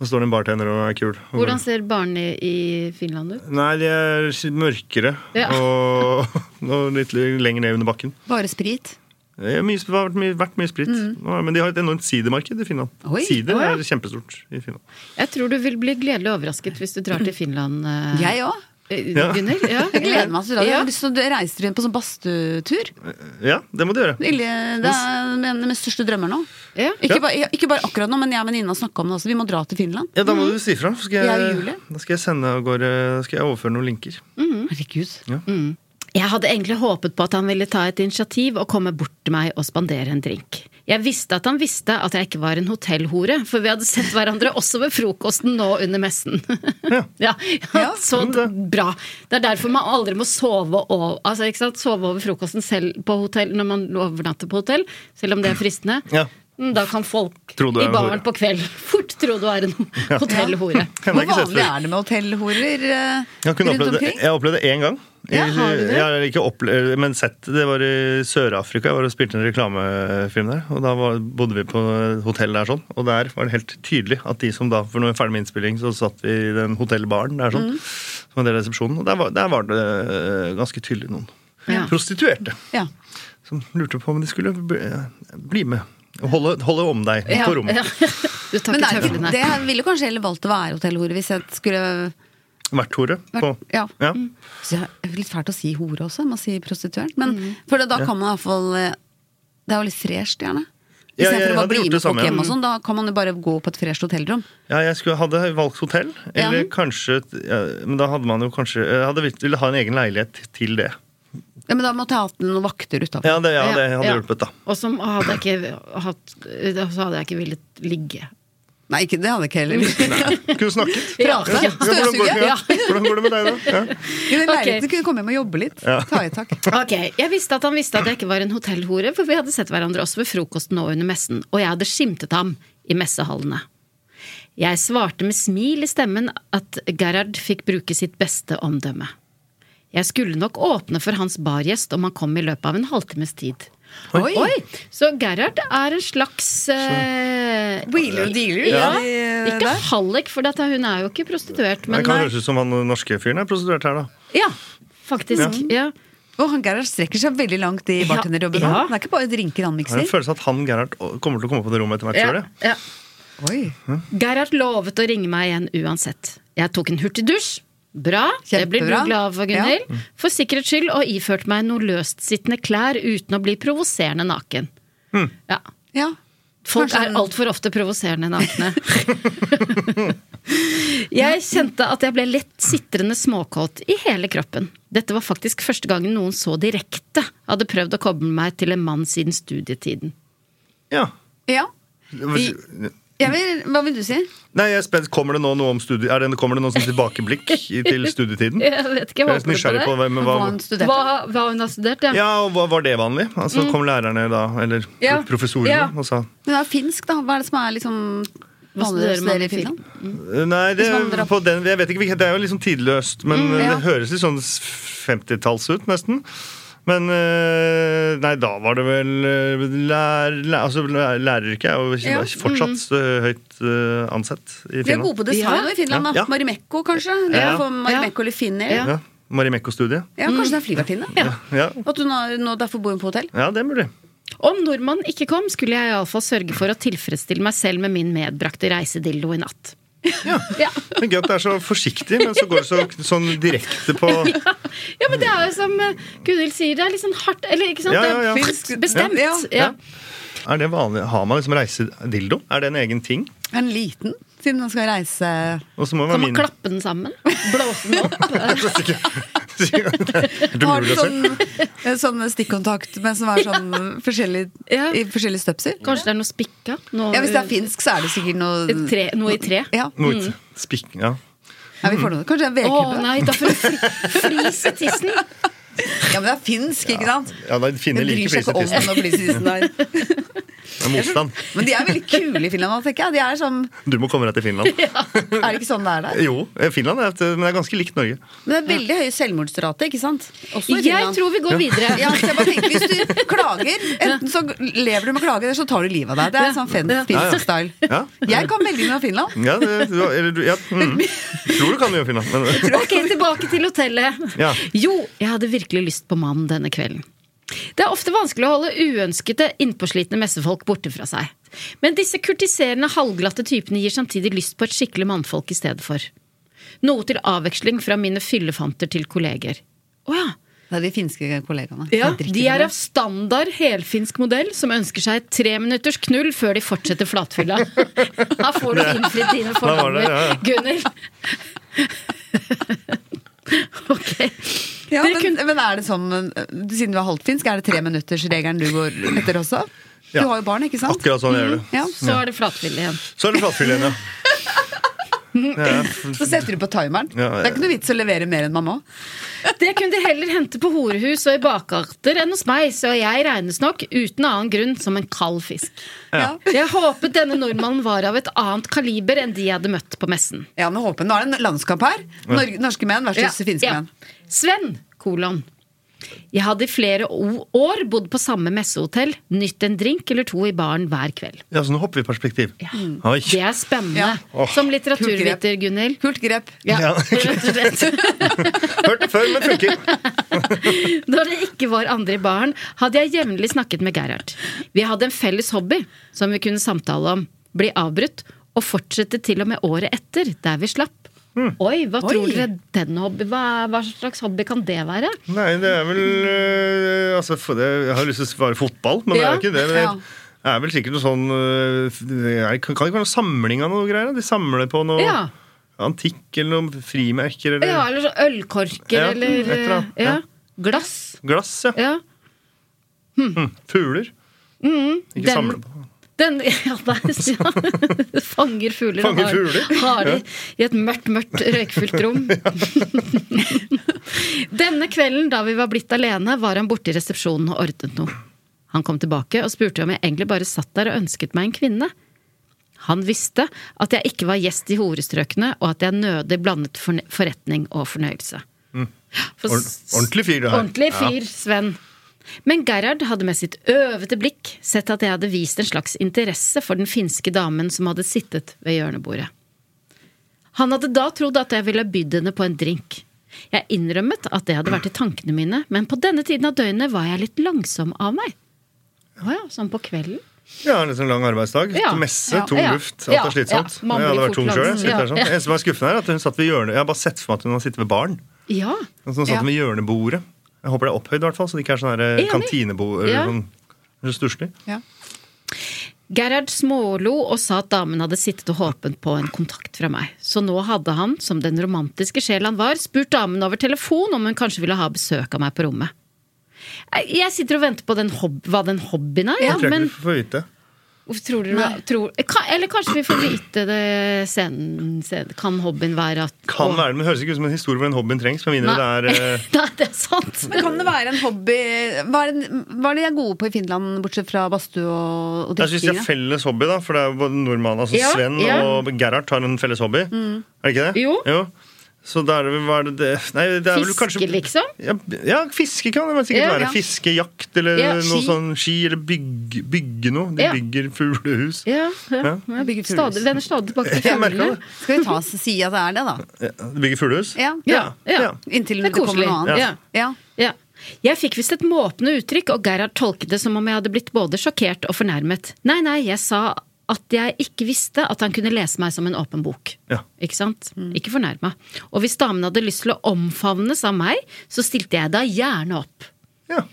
S4: Og står det en bartender og er kul. Og
S2: Hvordan ser barene i Finland ut?
S4: Nei, de er mørkere
S2: Ja.
S4: og, *laughs* og litt lenger ned under bakken.
S1: Bare sprit.
S4: Det er mye, det har vært mye, vært mye sprit. Nå- Men de har et enormt sidermarked i Finland.
S1: Oi.
S4: Sider
S2: Mm. Å, ja.
S4: er kjempestort i Finland.
S2: Jeg tror du vil bli gledelig overrasket hvis du drar til Finland, eh,
S1: Mm. Jeg òg.
S2: eh,
S4: Ja.
S2: Gunnhild. Ja.
S1: Jeg gleder meg til det. Jeg
S2: Ja.
S1: har lyst til å reise rundt på sånn badstutur.
S4: Ja, det må du gjøre.
S1: Ille, det er en av mine største drømmer nå.
S2: Ja.
S1: Ikke,
S4: Ja.
S1: bare, ikke bare akkurat nå, men jeg og venninna snakka om det også. Vi må dra til Finland.
S4: Ja, Da må du si fra. så
S1: Jeg
S4: Skal
S1: er
S4: jeg,
S1: Julie.
S4: da skal jeg sende av gårde da skal jeg overføre noen linker.
S1: Mm. Herregud.
S2: Mm. Jeg hadde egentlig håpet på at han ville ta et initiativ og komme bort til meg og spandere en drink. Jeg visste at han visste at jeg ikke var en hotellhore, for vi hadde sett hverandre også ved frokosten nå under messen. Ja, *laughs* ja,
S1: Ja.
S2: Så d- bra. Det er derfor man aldri må sove over, altså, ikke sant? sove over frokosten selv på hotell, når man overnatter på hotell, selv om det er fristende.
S4: Ja.
S2: Mm, Da kan folk
S4: Tro du er
S2: i
S4: en hore.
S2: baren på kveld fort tro du er en hotellhore.
S4: Kan
S1: Hvor
S4: jeg ikke sette
S1: vanlig
S4: før.
S1: er det med hotellhorer eh,
S4: Jeg har kun
S1: rundt
S4: opplevd det,
S1: omkring?
S4: jeg har opplevd det én gang.
S2: Ja, har du det?
S4: Jeg har ikke opplevd, men sett det. Det var i Sør-Afrika. Jeg var og spilte en reklamefilm der. Og da var, bodde vi på et hotell der sånn. Og der var det helt tydelig at de som da For når vi var ferdig med innspilling, så satt vi i den hotellbaren der sånn. Som var del av resepsjonen. Og der var, der var det eh, ganske tydelig noen
S2: Ja.
S4: prostituerte
S1: Ja.
S4: som lurte på om de skulle bli, bli med. og Holde, holde om deg
S2: Ja,
S4: på rommet.
S2: ja. Du tar
S1: Men det,
S2: ikke
S1: er ikke,
S2: tøflene.
S1: det ville kanskje heller valgt å være hotellhore hvis jeg skulle
S4: Hvert hore. På,
S1: vært ja.
S4: ja.
S2: Mm.
S1: Så det er litt fælt å si hore også, man sier prostituert. Men
S2: Mm.
S1: for da, da kan man iallfall eh, Det er jo litt fresht, gjerne.
S4: Ja, jeg
S1: Istedenfor å
S4: hadde
S1: bare bli
S4: gjort det
S1: med folk
S4: samme, ja.
S1: hjem og sånn. Da kan man jo bare gå på et fresht hotellrom.
S4: Ja, jeg skulle, hadde valgt hotell, eller
S1: Ja.
S4: kanskje ja, Men da hadde man jo kanskje Jeg hadde vilt- ville ha en egen leilighet til det.
S1: Ja, men da måtte jeg hatt noen vakter utafor.
S4: Ja, det, ja, det hadde
S2: Ja.
S4: hjulpet, da.
S2: Og som hadde jeg ikke hatt Så hadde jeg ikke villet ligge.
S1: Nei, ikke, det hadde jeg ikke
S4: *laughs*
S1: heller.
S4: *laughs* Kunne snakket.
S1: Prate.
S2: Ja,
S4: hvordan, går,
S1: Støvsuge.
S4: ja. hvordan går det med deg, da? Ja.
S1: I den
S2: Ok.
S1: leiligheten kunne jeg komme hjem og jobbe litt. Ta i tak.
S2: Ok, Jeg visste at han visste at jeg ikke var en hotellhore, for vi hadde sett hverandre også ved frokosten og under messen, og jeg hadde skimtet ham i messehallene. Jeg svarte med smil i stemmen at Gerhard fikk bruke sitt beste omdømme. Jeg skulle nok åpne for hans bargjest om han kom i løpet av en halvtimes tid.
S1: Oi.
S2: Så Gerhard er en slags eh,
S1: Wheeler og dealer.
S2: Ja,
S1: de
S2: ikke
S1: der.
S2: hallik, for dette, hun er jo ikke prostituert.
S4: Det
S2: Men eh,
S4: kan høres ut som han norske fyren er prostituert her, da.
S2: ja, faktisk. Ja.
S1: Og han Gerhard strekker seg veldig langt i
S2: Ja,
S1: bartenderjobben.
S2: ja.
S1: Ja. Det er ikke bare drinker han
S4: Jeg har
S1: mikser.
S4: en følelse at han Gerhard kommer til å komme på det rommet etter hvert. tror
S2: Ja.
S4: jeg.
S2: Ja.
S1: Oi.
S2: Gerhard lovet å ringe meg igjen uansett. Jeg tok en hurtig dusj. Bra. Det blir du
S1: Kjempebra. Mm.
S2: glad for, Gunhild. For sikkerhets skyld og iførte meg noe løstsittende klær uten å bli provoserende naken. Ja.
S1: Ja.
S2: Folk
S1: Mm. Kanskje
S2: er
S1: han-
S2: altfor ofte provoserende
S1: *laughs*
S2: nakne. jeg kjente at jeg ble lett sitrende småkåt i hele kroppen. Dette var faktisk første gangen noen så direkte hadde prøvd å koble meg til en mann siden studietiden.
S4: Ja.
S1: ja. Jeg vil, hva vil du si?
S4: Nei, jeg er spent. Kommer det nå noe om studie... Er det, kommer det noe sånn tilbakeblikk i- til studietiden?
S2: *laughs*
S4: Jeg
S2: Jeg vet ikke, jeg håper
S4: er litt
S2: du på
S4: nysgjerrig
S2: det.
S4: på hvem,
S1: Hva
S4: hva,
S1: han studerte?
S2: Hva, hva hun har studert, ja.
S4: Ja, og hva- Var det vanlig? Altså, Kom lærerne da, eller
S2: Mm. Ja.
S4: professorene,
S2: Ja.
S4: og sa
S1: Men det er finsk, da. Hva er det som er liksom
S2: Hva
S1: vanlig å
S2: studerer man
S1: studere
S2: i
S1: i Finland?
S4: Eh, Nei, det,
S1: Hvis man drar-
S4: på den, jeg vet ikke, hvilken- det er jo liksom tidløst, men
S1: Mm, ja.
S4: det høres litt sånn 50-talls ut, nesten. Men eh, nei, da var det vel eh, lær, lær, altså, læ- Læreryrket er jo
S1: Ja,
S4: fortsatt eh, høyt eh, ansett
S1: Vi
S4: i
S1: er
S4: Finland.
S1: gode på design
S2: Ja.
S1: i Finland, da.
S4: Ja.
S1: Marimekko, kanskje? Det
S4: Ja.
S1: å få Marimekko eller Finner.
S2: Ja.
S1: Ja.
S4: Ja, Marimekko-studiet.
S1: kanskje det er flyvertinne?
S4: Ja.
S1: At hun har, nå derfor bor hun på hotell?
S4: ja, det er mulig.
S2: Om nordmannen ikke kom, skulle jeg iallfall sørge for å tilfredsstille meg selv med min medbrakte reisedildo i natt. *laughs* Ja.
S4: Men Gøy at det er så forsiktig, men så går det så, sånn direkte på
S2: Ja. ja, men det er jo som eh, Gunhild sier, det er litt sånn hardt Eller ikke sant?
S4: Ja, ja, ja.
S2: Det er bestemt.
S1: *laughs* Ja.
S2: Ja.
S4: Er det vanlig? Har man liksom reisedildo? Er det en egen ting?
S1: En liten, siden man skal reise
S4: Og så må
S2: Kan
S4: det være
S2: man
S4: min.
S2: klappe den sammen? Blåse den opp?
S4: Er det
S1: Har du
S4: mulig å se?
S1: sånn, eh, sånn stikkontakt, men som er sånn forskjellig,
S2: Ja.
S1: i forskjellig støpsel?
S2: Kanskje det er noe spikka? Noe,
S1: Ja, Hvis det er finsk, så er det sikkert noe
S2: Et tre- noe i tre?
S1: Ja,
S4: Noe ut- spikk- Ja.
S1: ja vi får noe. Kanskje det er en
S2: Å
S1: vedkubbe?
S2: nei, da får du fli- flis i tissen!
S1: Ja, men det er finsk, ikke sant?
S4: ja, da finner
S1: Den
S4: like
S1: bryr seg ikke om
S4: flisetissen.
S1: når flisetissen er
S4: Med motstand.
S1: Men de er veldig kule i Finland, tenker jeg. De er, sånn,
S4: Du må komme deg til
S2: *laughs*
S4: Finland.
S1: er det ikke sånn det er der?
S4: Jo, eh, Finland er, et- men det er ganske likt Norge.
S1: Men det er veldig høy selvmordsrate, ikke sant? Også i
S2: Jeg
S1: Finland.
S2: tror vi går videre.
S1: ja, så jeg bare tenkte, Hvis du klager, enten så lever du med klage, eller så tar du livet av deg. Det er sånn fin- finsk-style.
S4: Ja.
S1: Jeg kan veldig mye om Finland.
S4: Ja, det, du, eller, du- ja, mm. Tror du kan gjøre Finland, men *laughs*
S2: Ok, tilbake til hotellet.
S4: Ja.
S2: Jo, jeg hadde virkelig lyst på mann denne kvelden. Det er ofte vanskelig å holde uønskede, innpåslitne messefolk borte fra seg. Men disse kurtiserende, halvglatte typene gir samtidig lyst på et skikkelig mannfolk i stedet for. Noe til avveksling fra mine fyllefanter til kolleger. Å ja.
S1: Det er de finske kollegaene.
S2: Ja,
S1: drikker
S2: de er
S1: mye.
S2: av standard helfinsk modell som ønsker seg et treminutters knull før de fortsetter flatfylla.
S4: *laughs*
S2: Her får du innfridd dine
S4: var det,
S2: fordommer,
S4: ja, ja.
S2: Gunnhild. *laughs* Ok.
S1: ja,
S2: Dere
S1: men,
S2: kunne-
S1: men er det sånn, eh, siden du er halvfinsk, er det treminuttersregelen du går etter også?
S4: Ja.
S1: Du har jo barn, ikke sant? Mm,
S4: akkurat sånn gjør du.
S1: Ja.
S2: Så er det flatfylle igjen.
S4: Så er det flatfyll igjen, ja. ja.
S1: Så setter du på timeren.
S4: Ja,
S1: Det er ikke noe vits å levere mer enn man må.
S2: Det kunne de heller hente på horehus og i bakgater enn hos meg, så jeg regnes nok uten annen grunn som en kald fisk.
S1: Ja.
S2: Jeg håpet denne nordmannen var av et annet kaliber enn de jeg hadde møtt på messen.
S1: Ja, nå, håper, jeg- nå er det en landskamp her. Nor norske menn versus finske menn.
S2: Sven, kolon. Jeg hadde i flere o- år bodd på samme messehotell, nytt en drink eller to i baren hver kveld.
S4: ja, så nå hopper vi i perspektiv. Oi.
S2: Det er spennende.
S1: Ja.
S4: Åh.
S2: Som litteraturviter, Gunhild.
S1: Kult grep.
S2: Ja,
S4: *laughs* Ja.
S2: rett og
S1: *laughs*
S2: slett.
S4: Hørt det før, men funker.
S2: Når det ikke var andre i baren, hadde jeg jevnlig snakket med Gerhard. Vi hadde en felles hobby som vi kunne samtale om, bli avbrutt, og fortsette til og med året etter, der vi slapp.
S4: Hmm.
S2: Oi, hva tror
S1: Oi.
S2: dere den hobby, hva, hva slags hobby kan det være?
S4: Nei, det er vel øh, altså, for det, Jeg har lyst til å svare fotball, men det er
S2: Ja.
S4: jo ikke det. Men
S1: Ja.
S4: det er vel sikkert noe sånn øh, f- det er- Kan det ikke være noe samling av noe greier? da? De samler på noe
S2: Ja.
S4: antikk eller noen frimerker eller
S2: Ja, eller så ølkorker,
S4: Ja, et
S2: eller
S4: eller
S2: ja.
S4: annet, ja.
S2: glass.
S4: glass. Ja.
S2: Ja.
S4: Fugler. ikke
S2: den-
S4: samle på.
S2: Den *laughs* ja, der, ja. *laughs* Fanger fugler.
S4: Fanger
S2: og
S4: fugler,
S2: Har de i et mørkt, mørkt, røykfullt
S4: *laughs*
S2: rom. *laughs* Denne kvelden da vi var blitt alene, var han borte i resepsjonen og ordnet noe. Han kom tilbake og spurte om jeg egentlig bare satt der og ønsket meg en kvinne. Han visste at jeg ikke var gjest i horestrøkene, og at jeg nødig blandet forne- forretning og fornøyelse. For
S4: Ord- Mm. ordentlig fyr, det her.
S2: Ordentlig
S4: Ja.
S2: fyr, Sven. Men Gerhard hadde med sitt øvete blikk sett at jeg hadde vist en slags interesse for den finske damen som hadde sittet ved hjørnebordet. Han hadde da trodd at jeg ville bydd henne på en drink. Jeg innrømmet at det hadde vært i tankene mine, men på denne tiden av døgnet var jeg litt langsom av meg. Å ja, sånn på kvelden?
S4: Ja, en litt sånn lang arbeidsdag.
S2: Ja.
S4: Messe,
S2: Ja.
S4: tung
S2: Ja.
S4: luft. Alt
S2: Ja.
S4: er slitsomt.
S2: Ja. Man
S4: Jeg hadde
S2: blir
S4: vært tung
S2: fort
S4: sjøl.
S2: langt.
S4: jeg.
S2: Ja.
S4: Sitter der Sånn.
S2: Ja.
S4: Det eneste som er skuffende, er at hun satt ved hjørnet. Jeg har bare sett for meg at hun har sittet ved baren.
S2: Ja.
S4: Altså, hun satt
S1: Ja.
S4: ved hjørnebordet. Jeg håper det er opphøyd, i hvert fall, så det ikke er sånn her, eh,
S2: Enig.
S4: kantinebord.
S2: Ja.
S4: eller Sånn, eller stusslig.
S1: Ja.
S2: Gerhard smålo og sa at damen hadde sittet og håpet på en kontakt fra meg. Så nå hadde han, som den romantiske sjel han var, spurt damen over telefon om hun kanskje ville ha besøk av meg på rommet. Jeg- Jeg sitter og venter på den hob hva den hobbyen er, ja,
S4: jeg tror ikke
S2: men
S4: du får vite.
S2: tror dere tror, ka- Eller kanskje vi får vite det sen, sen, Kan hobbyen være at
S4: Kan
S2: å-
S4: være, men Det høres ikke ut som en historie hvor den hobbyen trengs. Med mindre det er eh,
S2: *laughs* Nei, det er sant.
S1: Men kan det være en hobby Hva er det, hva er det de er gode på i Finland, bortsett fra badstue og, og
S4: Jeg syns de
S1: drikking? da?
S4: har felles hobby, da. For det er jo både nordmannen, altså
S2: Ja,
S4: Sven
S2: ja. Mm.
S4: og Gerhard har en felles hobby. Er det ikke det?
S2: Jo.
S4: Så da er det vel hva er det, det- Nei, det er vel
S2: Fiske,
S4: kanskje
S2: liksom?
S4: Ja, ja, fiske kan det vel sikkert
S2: Ja,
S4: være.
S2: ja.
S4: Fiskejakt eller
S2: Ja,
S4: noe
S2: ski.
S4: sånn ski. Eller bygge, bygge noe. De
S2: Ja.
S4: bygger fuglehus.
S2: Ja, ja.
S4: Ja.
S2: Jeg bygger Stadig, vender stadig tilbake til
S4: Jeg merker
S2: fuglene.
S4: det.
S1: Skal vi ta oss si at det er det, da?
S4: Ja, de bygger fuglehus?
S1: Ja.
S2: Ja, ja.
S4: Ja.
S2: Det
S1: Inntil det,
S2: er
S1: kommer
S2: koselig.
S1: noe annet.
S2: Ja.
S1: Ja.
S2: Ja. Jeg fikk visst et måpende uttrykk, og Gerhard tolket det som om jeg hadde blitt både sjokkert og fornærmet. Nei, nei, jeg sa at jeg ikke visste at han kunne lese meg som en åpen bok.
S4: Ja.
S2: Ikke sant? Ikke fornærma. Og hvis damen hadde lyst til å omfavnes av meg, så stilte jeg da gjerne opp.
S4: Ja,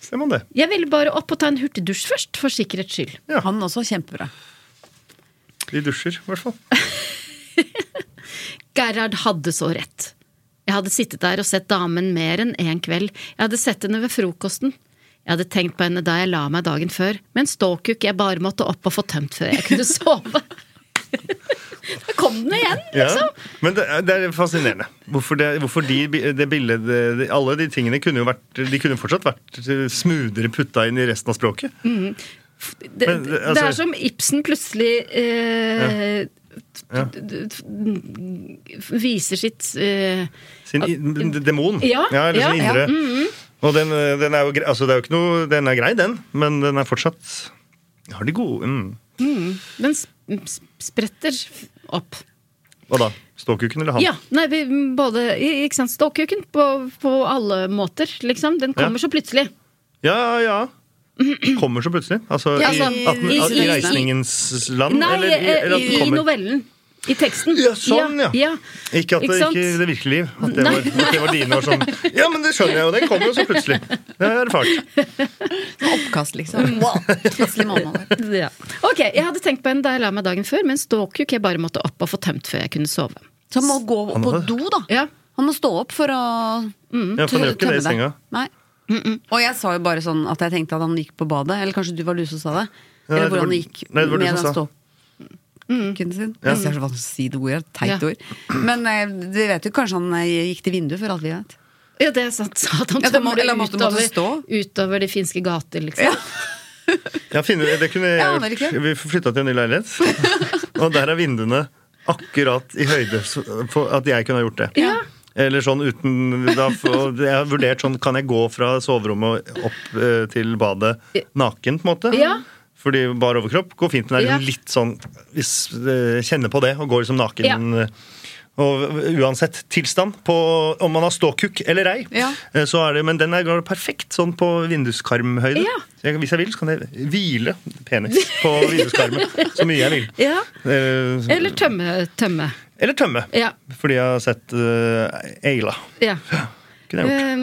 S4: ser man det.
S2: Jeg ville bare opp og ta en hurtigdusj først, for sikkerhets skyld.
S4: Ja.
S1: Han også, kjempebra.
S4: De dusjer, i
S2: *laughs*
S4: hvert fall.
S2: Gerhard hadde så rett. Jeg hadde sittet der og sett damen mer enn én kveld. Jeg hadde sett henne ved frokosten. Jeg hadde tenkt på henne da jeg la meg dagen før, med en ståkuk jeg bare måtte opp og få tømt før jeg kunne *laughs* sove. Da kom den igjen,
S4: Ja.
S2: liksom!
S4: Men det er, det er fascinerende. Hvorfor, det, hvorfor de, bi- det bildet de, Alle de tingene kunne jo vært De kunne fortsatt vært smoothere putta inn i resten av språket.
S2: Det,
S4: Men,
S2: det,
S4: altså-
S2: er som Ibsen plutselig eh, d- d- d- viser sitt eh,
S4: Sin i- d- demon.
S2: Ja,
S4: eller sin
S2: ja, Mm, ja.
S4: indre. Og den, den er jo grei, altså det er jo ikke noe, den er grei, den, men den er fortsatt Har de gode mm.
S2: Den sp- sp- spretter opp.
S4: Hva da? Ståkuken eller han?
S2: Ja, nei, vi, både i- ikke sant, Ståkuken på, på alle måter, liksom. Den kommer så plutselig.
S4: ja. ja. Kommer så plutselig? Altså,
S2: Ja,
S4: i,
S2: altså,
S4: atten-
S2: i-
S4: i,
S2: i-
S4: reisningens land?
S2: Nei,
S4: Mm, eller,
S2: eh,
S4: eller at den
S2: i, i
S4: kommer-
S2: novellen. I teksten.
S4: Ja, sånn, ja.
S2: ja.
S4: Ikke at det
S2: Ikke sant?
S4: ikke i det virkelige liv. At det,
S2: Nei.
S4: var, at det var dine år som Ja, men det skjønner jeg jo. Den kom jo så plutselig. Det er erfart.
S1: Oppkast, liksom. Wow. Plutselig mamma var
S2: Ja. Ok, jeg hadde tenkt på en da jeg la meg dagen før, men ståkuk jeg bare måtte opp og få tømt før jeg kunne sove.
S1: Så han må gå
S4: Han
S1: på
S4: har-
S1: do, da.
S2: Ja.
S1: Han må stå opp for å mm,
S4: Ja, for han gjør ikke det i
S1: deg.
S4: senga.
S1: Nei. Og jeg sa jo bare sånn at jeg tenkte at han gikk på badet. Eller kanskje du var du som sa det? Eller
S4: det var-
S1: hvor han gikk
S4: nei, det var du
S1: med
S4: som
S1: den
S4: sa.
S1: stå kukken sin. Jeg synes Det er så vanskelig å si det ordet. Teit
S2: Mm. Ja.
S1: ord. Men eh, du vet jo kanskje han eh, gikk til vinduet, for alt vi vet.
S2: Ja, det er sant. Så at han
S1: Ja, det må-
S2: tumler
S1: eller måtte- måtte
S2: utover,
S1: stå.
S2: utover de finske gater, liksom.
S4: Ja, finner, du- det kunne jeg
S1: Jeg aner
S4: gjort.
S1: ikke.
S4: Vi flytta til en ny leilighet, og der er vinduene akkurat i høyde så- for at jeg kunne ha gjort det.
S2: Ja.
S4: Eller sånn uten da, for, Jeg har vurdert sånn Kan jeg gå fra soverommet og opp eh, til badet naken, på en måte?
S2: Ja.
S4: Fordi bar overkropp går fint, men det
S2: Ja.
S4: er liksom litt sånn hvis, eh, Kjenner på det og går liksom naken.
S2: Ja.
S4: eh, Og uansett tilstand, på, om man har ståkukk eller ei,
S1: Ja.
S4: eh, så er det, men den er går perfekt sånn på vinduskarmhøyde.
S2: Ja.
S4: Så jeg, hvis jeg vil, så kan jeg hvile penis på vinduskarmen så mye jeg vil.
S2: Ja.
S4: Eh,
S2: Eller tømme. tømme.
S4: Eller tømme,
S2: Ja.
S4: fordi jeg har sett uh, Eila.
S2: ja.
S4: Kunne jeg gjort.
S2: Eh,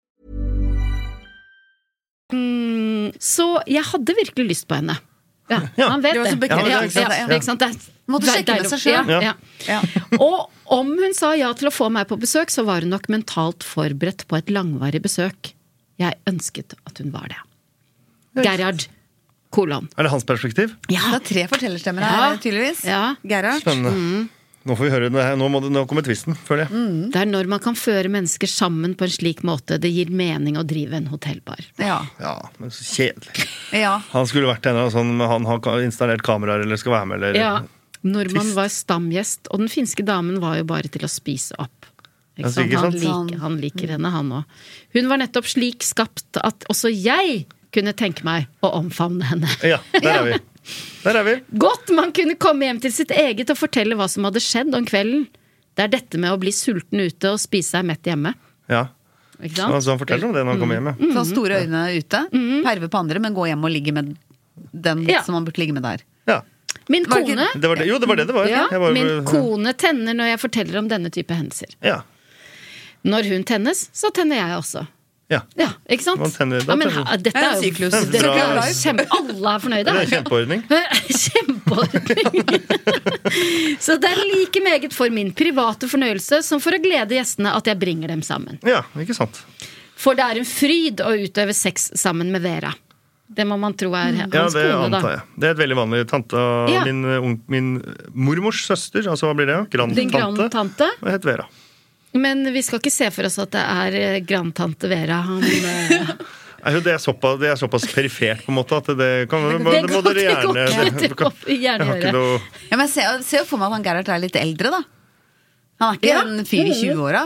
S2: så jeg hadde virkelig lyst på henne. *laughs* Ja,
S4: Ja.
S2: Han vet
S1: Det var så
S2: det.
S1: bekvemt,
S2: ja,
S1: ikke sant?
S2: ja,
S1: Ja.
S2: ikke sant? Det er-
S1: Måtte
S2: det er
S1: sjekke med
S2: deilig.
S1: seg selv.
S2: Ja,
S4: Ja.
S2: ja. Og om hun sa ja til å få meg på besøk, så var hun nok mentalt forberedt på et langvarig besøk. Jeg ønsket at hun var det. Gerhard kolon.
S4: Er det hans perspektiv?
S1: Det er tre fortellerstemmer her,
S2: Ja.
S1: tydeligvis.
S2: Ja.
S1: Gerhard.
S4: Spennende. Mm. Nå får vi høre det her. Nå, må det, nå kommer tvisten, føler jeg.
S2: Det er når man kan føre mennesker sammen på en slik måte det gir mening å drive en hotellbar.
S1: Ja.
S4: Ja, men så kjedelig.
S1: ja.
S4: Han skulle vært der, og sånn, men han har ka- installert kameraer eller skal være med, eller
S2: Ja, Nordmann
S4: Trist.
S2: var stamgjest, og den finske damen var jo bare til å spise opp. Ikke
S4: Altså,
S2: sant?
S4: ikke
S2: Han,
S4: sant?
S1: Sånn.
S2: liker, han liker henne, han òg. Hun var nettopp slik skapt at også jeg kunne tenke meg å omfavne henne.
S4: Ja, der er vi. Der er vi.
S2: Godt man kunne komme hjem til sitt eget og fortelle hva som hadde skjedd om kvelden. Det er dette med å bli sulten ute og spise seg mett hjemme.
S4: Ja.
S2: Ikke
S4: Så
S2: sant? Mm.
S4: han forteller om det når han kommer hjem. Ja.
S2: Mm-hmm.
S1: Så han Sånn store øynene er ute. Perve på andre, men gå hjem og ligge med den
S2: Ja.
S1: som han burde ligge med der.
S4: Ja.
S2: Min
S1: Var det ikke-
S2: kone,
S4: Det var det. Jo, det var det det var.
S2: ja,
S4: Jeg var-
S2: min kone tenner når jeg forteller om denne type hendelser.
S4: Ja.
S2: Når hun tennes, så tenner jeg også.
S4: Ja.
S2: Ja, ikke sant?
S4: Man tenner-
S2: ja, men,
S4: da tenner-
S2: ha- dette er jo
S1: Syklus.
S2: dette er jo
S4: Bra.
S2: kjempe, Alle er fornøyde.
S4: Det er en kjempeordning.
S2: *laughs* Kjempeordning. Så det er like meget for min private fornøyelse som for å glede gjestene at jeg bringer dem sammen.
S4: Ja, ikke sant.
S2: For det er en fryd å utøve sex sammen med Vera. Det må man tro er hans
S4: Ja, det
S2: kone, da.
S4: antar jeg. Det er et veldig vanlig tante av
S2: Ja.
S4: min, eh, onk- min mormors søster, altså hva blir det?
S2: Din
S4: Grandtante.
S2: grandtante.
S4: Og het Vera.
S2: Men vi skal ikke se for oss at det er eh, grandtante Vera. Han, eh,
S4: Nei, Det er, såpass, det er såpass perifert, på en måte, at det kan Det,
S2: det
S4: *laughs* må
S2: går-
S4: dere
S2: det går
S4: gjerne
S2: ikke. Det må vi gjerne
S4: Jeg har
S2: gjøre.
S4: ikke noe
S1: Ja, men jeg ser, jeg ser jo for meg at han Gerhard er litt eldre, da. Han er ikke
S2: Ja. Mm.
S1: en fyr i 20-åra.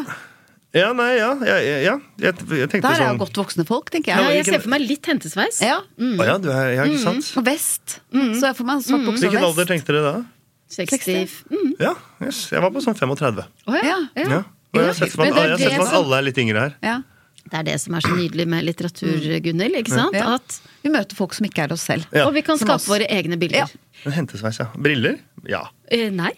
S4: Ja, nei, ja. ja, ja, ja. Jeg, jeg tenkte
S1: Der er
S4: sånn
S1: jo godt voksne folk, tenker
S2: ja,
S1: jeg.
S2: jeg ser for meg litt hentesveis.
S1: Ja,
S4: Å ja, du er, ja, ikke sant?
S2: Mm.
S1: Og vest. Så jeg får meg en svart bukse
S4: Hvilken
S1: og
S4: alder
S1: vest.
S4: tenkte dere da?
S2: 60.
S4: Ja, yes. Jeg var på sånn
S2: Mm.
S4: 35.
S2: Å ja.
S1: Ja.
S2: ja.
S4: Ja. Og jeg har sett for meg
S2: Men det er
S4: jeg har sett
S2: det
S4: for meg at
S2: som-
S4: alle er litt yngre her.
S1: Ja.
S2: Det er det som er så nydelig med litteratur, Gunnhild. Ikke sant?
S1: Mm. Ja.
S2: At,
S1: Vi møter folk som ikke er oss selv.
S4: Ja.
S2: og vi kan
S1: Som
S2: skape
S1: oss.
S2: våre egne bilder.
S1: Ja.
S4: Men Hentesveis, ja. Briller? Ja.
S2: Eh, nei.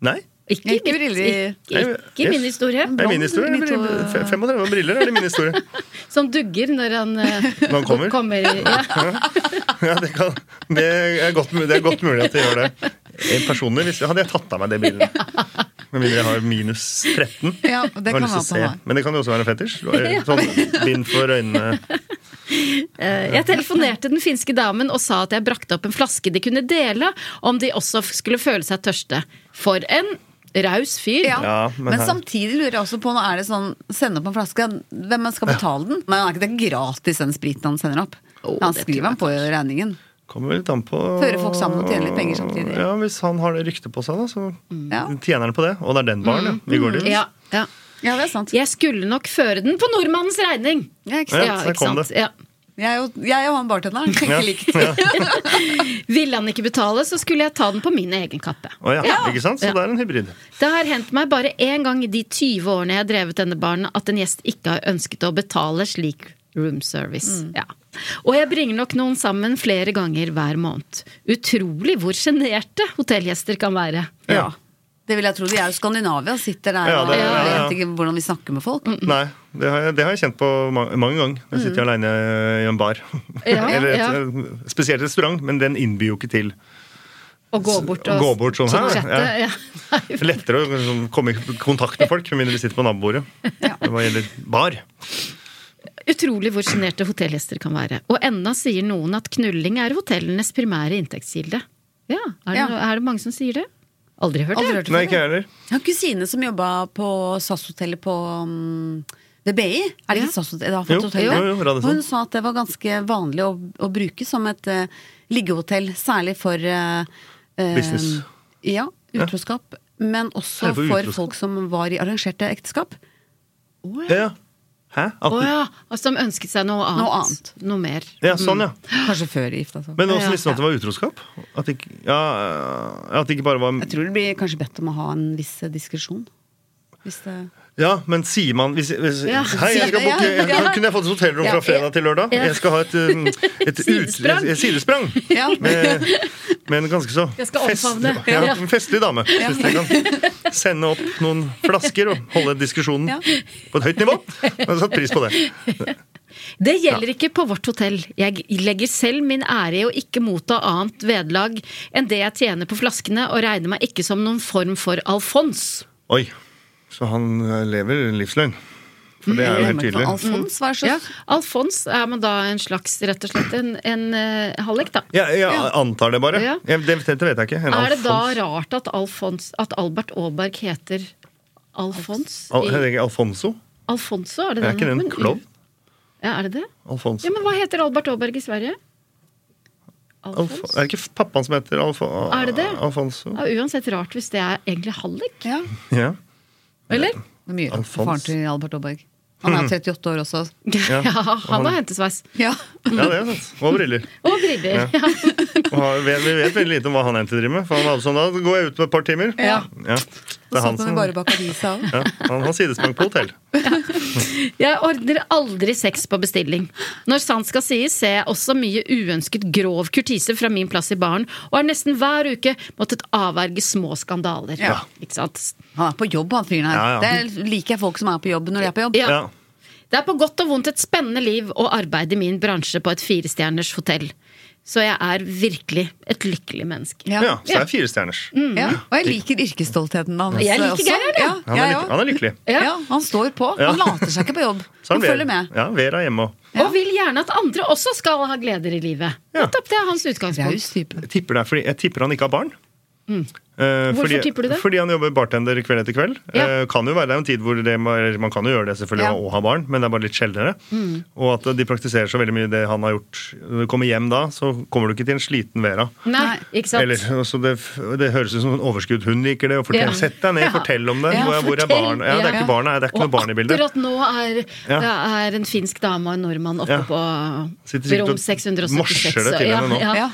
S4: Nei?
S2: Ikke,
S1: Ikke
S2: min-
S1: briller.
S2: ikke, ikke min
S4: Yes.
S2: historie.
S4: Det er min historie.
S1: Blond,
S4: eller
S1: litt,
S4: briller? Fe- 35 og briller er det min historie.
S2: Som dugger når han, eh,
S4: *laughs* Når han kommer.
S2: i- ja.
S4: *laughs* Ja, det, kan, det, er godt, mu- det er godt mulig at jeg gjør det. Eh, Personlig hvis, hadde jeg tatt av meg det bildet. Med mindre jeg har minus 13.
S1: Ja, og det
S4: Jeg
S1: kan
S4: har lyst til å
S1: være på
S4: se.
S1: meg.
S4: Men det kan jo også være
S1: *laughs*
S4: en fetisj. Sånn bind for øynene.
S2: Eh, Jeg telefonerte den finske damen og sa at jeg brakte opp en flaske de kunne dele, om de også f- skulle føle seg tørste. For en raus fyr.
S1: Ja.
S4: Ja, men
S1: men
S4: her-
S1: samtidig lurer jeg også på, nå er det sånn, sende opp en flaske, hvem skal betale den? Men er ikke det gratis den spriten han sender opp?
S2: Å,
S1: han
S2: det tror jeg
S1: skriver han på regningen.
S4: Kommer vel litt an på
S1: Fører folk sammen og tjener litt penger samtidig.
S4: Ja, Hvis han har det ryktet på seg, da, så
S1: Ja.
S4: tjener han på det. Og det er den baren, ja. Vi går dit.
S2: Ja, ja.
S1: Mm. Ja, det er sant.
S2: Jeg skulle nok føre den på nordmannens regning.
S1: Ja, ikke sant?
S4: Ja. der kom det.
S2: Ja.
S1: Jeg, er jo, jeg er jo han bartenderen. Tenker likt.
S2: Ville han ikke betale, så skulle jeg ta den på min egen kappe.
S4: Å ja, ikke sant? Så
S2: Ja.
S4: det er en hybrid.
S2: Det har hendt meg bare én gang i de 20 årene jeg har drevet denne baren, at en gjest ikke har ønsket å betale slik room service.
S1: Mm.
S2: Ja. Og jeg bringer nok noen sammen flere ganger hver måned. Utrolig hvor sjenerte hotellgjester kan være.
S1: Ja. Det vil jeg tro. De er jo Skandinavia, sitter der
S4: Ja,
S1: og
S4: det- ja, ja.
S1: vet ikke hvordan vi snakker med folk.
S2: Mm.
S4: Nei, det har, jeg, det har jeg kjent på ma- mange ganger. Jeg sitter
S1: Mm.
S4: alene i en bar.
S2: Ja,
S4: *laughs* Eller et, eh,
S2: ja.
S4: spesielt restaurant, men den innbyr jo ikke til.
S2: Å gå bort og
S4: Gå bort sånn her,
S2: chatte.
S4: ja.
S2: Ja.
S4: *laughs*
S2: Nei,
S4: Lettere å liksom komme i kontakt med folk, med mindre de sitter på nabobordet. Hva gjelder bar.
S2: *laughs* Utrolig hvor sjenerte hotellgjester kan være. Og enda sier noen at knulling er hotellenes primære inntektskilde. Ja, er det,
S1: Ja.
S2: er det mange som sier det? Aldri hørt det.
S1: Aldri hørt det
S4: Nei,
S1: før.
S4: ikke jeg heller.
S1: Jeg har en kusine som jobba på SAS-hotellet på mm, ved BI. Er det
S2: Ja.
S1: ikke SAS-hotellet? Det har
S4: Jo,
S1: fått hotell
S4: jo,
S1: der.
S4: jo, sånn. Radisson.
S1: Og hun sa at det var ganske vanlig å, å bruke som et eh, liggehotell, særlig for eh, eh,
S4: Business.
S1: Ja, utroskap. Men også
S4: Særlig for
S1: for,
S4: utroskap.
S1: folk som var i arrangerte ekteskap.
S4: Ja, ja. Hæ?
S2: Å
S4: Atten-
S2: ja, altså de ønsket seg noe annet.
S1: Noe annet.
S2: Noe mer.
S4: Ja, sånn, ja.
S1: Kanskje før de gifta seg.
S4: Men
S2: Mm. Ja,
S4: også liksom at det var utroskap? At det ikke, ja, at det ikke bare var
S1: Jeg tror det blir kanskje bedt om å ha en viss eh, diskresjon. Hvis det
S4: *laughs* Ja, men sier man hvis, hvis,
S2: Ja.
S4: Hei, jeg skal booke
S1: Ja, ja.
S4: Kunne jeg fått et hotellrom fra fredag til lørdag? Jeg skal ha et, um,
S2: *laughs*
S4: et
S2: Sidesprang.
S4: Ut, et sidesprang
S1: Ja.
S4: med, med en ganske så
S2: Jeg skal omfavne.
S4: ja,
S2: Ja.
S4: en festlig dame. Hvis jeg kan sende opp noen flasker og holde diskusjonen
S1: Ja.
S4: på et høyt nivå. Jeg hadde satt pris på det.
S2: Det gjelder ikke på vårt hotell. Jeg legger selv min ære i å ikke motta annet vederlag enn det jeg tjener på flaskene, og regner meg ikke som noen form for Alfons.
S4: Oi. Så han eh, lever livsløgn. For det er jo helt tydelig.
S1: Alfons var så
S2: Mm. Ja, Alfons er man da en slags, rett og slett, en, en eh, hallik, da.
S4: Ja, jeg antar det bare.
S2: Ja.
S4: Jeg, det, dette vet jeg ikke. En
S2: Er det da
S4: Alfons-
S2: rart at, Alfons, at Albert Aaberg heter Alfons?
S4: Al,
S2: I,
S4: heter ikke Alfonso?
S2: Alfonso, er det
S4: Er ikke det
S2: han-
S4: en klovn?
S2: Ja, er det det?
S4: Alfonso.
S2: Ja, men hva heter Albert Aaberg i Sverige?
S4: Alf
S2: Alfons?
S4: er det ikke pappaen som heter Alf
S2: Er det det?
S4: Alfonso?
S2: Ja, uansett rart hvis det er egentlig hallik,
S1: Ja.
S4: Ja.
S2: eller?
S1: Det er Mye rart for
S4: Alfons.
S1: faren til Albert Aaberg. Han
S4: *clears throat*
S1: er 38 år også.
S2: Ja, han har hentesveis.
S1: *laughs* Ja.
S4: ja, det er sant. Og briller.
S2: Og briller. Ja. *laughs*
S4: Og har- vi vi vet veldig lite om hva han egentlig driver med. For han hadde sånn, da går jeg ut med et par timer.
S1: Ja.
S4: Ja, Det er han som
S1: bare
S4: ja,
S1: bak avisa også.
S4: Han har sidesprang på hotell.
S2: Jeg ordner aldri sex på bestilling. Når sant skal sies, ser jeg også mye uønsket grov kurtise fra min plass i baren, og har nesten hver uke måttet avverge små skandaler.
S1: Ja.
S2: Ikke sant?
S1: Han er på jobb, han fyren her.
S4: Ja, ja.
S1: Det liker jeg folk som er på jobb når de er på jobb.
S2: Ja.
S4: Ja.
S2: Det er på godt og vondt et spennende liv å arbeide i min bransje på et firestjerners hotell. Så jeg er virkelig et lykkelig menneske.
S4: Ja, så det er firestjerners.
S2: Mm.
S1: Ja, og jeg liker yrkesstoltheten hans
S2: Jeg liker
S1: også.
S2: Geir,
S1: ja.
S2: jeg.
S4: Han er,
S1: jeg
S4: lykkelig.
S1: også.
S4: han er lykkelig.
S2: Ja.
S1: Ja, han står på.
S4: Ja. Sånn
S1: Han later seg ikke på
S4: *laughs*
S1: jobb.
S4: Så er
S1: Han
S4: Vera-
S1: følger med.
S4: Ja, Vera er hjemme og
S2: Og vil gjerne at andre også skal ha gleder i livet.
S4: Ja.
S2: Nettopp det er hans utgangspunkt.
S1: Raus type.
S4: Jeg tipper, det er fordi, jeg tipper han ikke har barn. Eh,
S2: Mm. Hvorfor
S4: fordi,
S2: tipper du det?
S4: Fordi han jobber bartender kveld etter kveld.
S2: Ja.
S4: Eh, kan jo være, det er jo en tid hvor det, må- Man kan jo gjøre det
S1: Ja.
S4: selvfølgelig og ha barn, men det er bare litt sjeldnere.
S2: Mm.
S4: Og at de praktiserer så veldig mye det han har gjort. Når du kommer hjem da, så kommer du ikke til en sliten Vera.
S2: Nei,
S1: Nei.
S2: ikke sant?
S4: Eller, så det, det høres ut som en overskudd. Hun liker det. Og fortell,
S2: Ja.
S4: Sett deg ned,
S2: Ja.
S4: fortell om det.
S1: Ja,
S4: hvor, er- hvor er
S2: Fortell.
S4: barna? Ja, det er
S2: Ja.
S4: ikke barna, det er ikke noe barn i bildet.
S2: Og akkurat nå er
S4: Ja.
S2: det er en finsk dame og en nordmann oppe
S4: Ja.
S2: på
S4: Sitter sikkert
S2: rom
S4: og
S2: 676.
S4: morser det til
S2: ja,
S4: henne nå.
S2: Ja.
S1: Ja.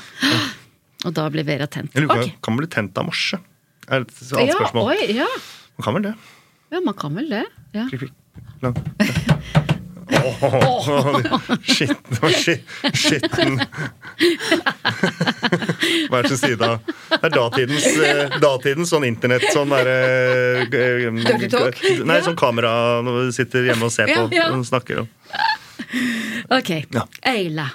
S2: Og da blir Vera tent.
S4: Jeg lurer på,
S2: Ok.
S4: Kan man bli tent av morse? Er et annet
S2: Ja,
S4: spørsmål.
S2: oi, ja.
S4: Man kan vel det.
S2: ja, man kan vel det. Ja.
S4: Klikk, klikk. Lang. Åh, Skitten og skit- skitten Hver sin side av Det er datidens, eh, datidens sånn internett Sånn derre
S1: Dirty talk?
S4: Nei, sånn kamera når du sitter hjemme og ser på
S2: Ja, ja.
S4: og snakker. og-
S2: Ok.
S4: Ja.
S2: Eila,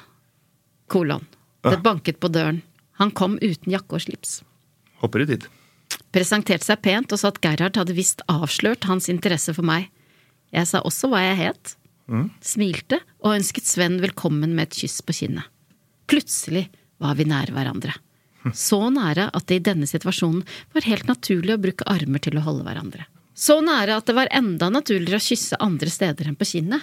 S2: kolon. Det banket på døren. Han kom uten jakke og slips.
S4: Hopper ut dit.
S2: Presenterte seg pent og sa at Gerhard hadde visst avslørt hans interesse for meg. Jeg sa også hva jeg het, smilte og ønsket Sven velkommen med et kyss på kinnet. Plutselig var vi nær hverandre. Så nære at det i denne situasjonen var helt naturlig å bruke armer til å holde hverandre. Så nære at det var enda naturligere å kysse andre steder enn på kinnet.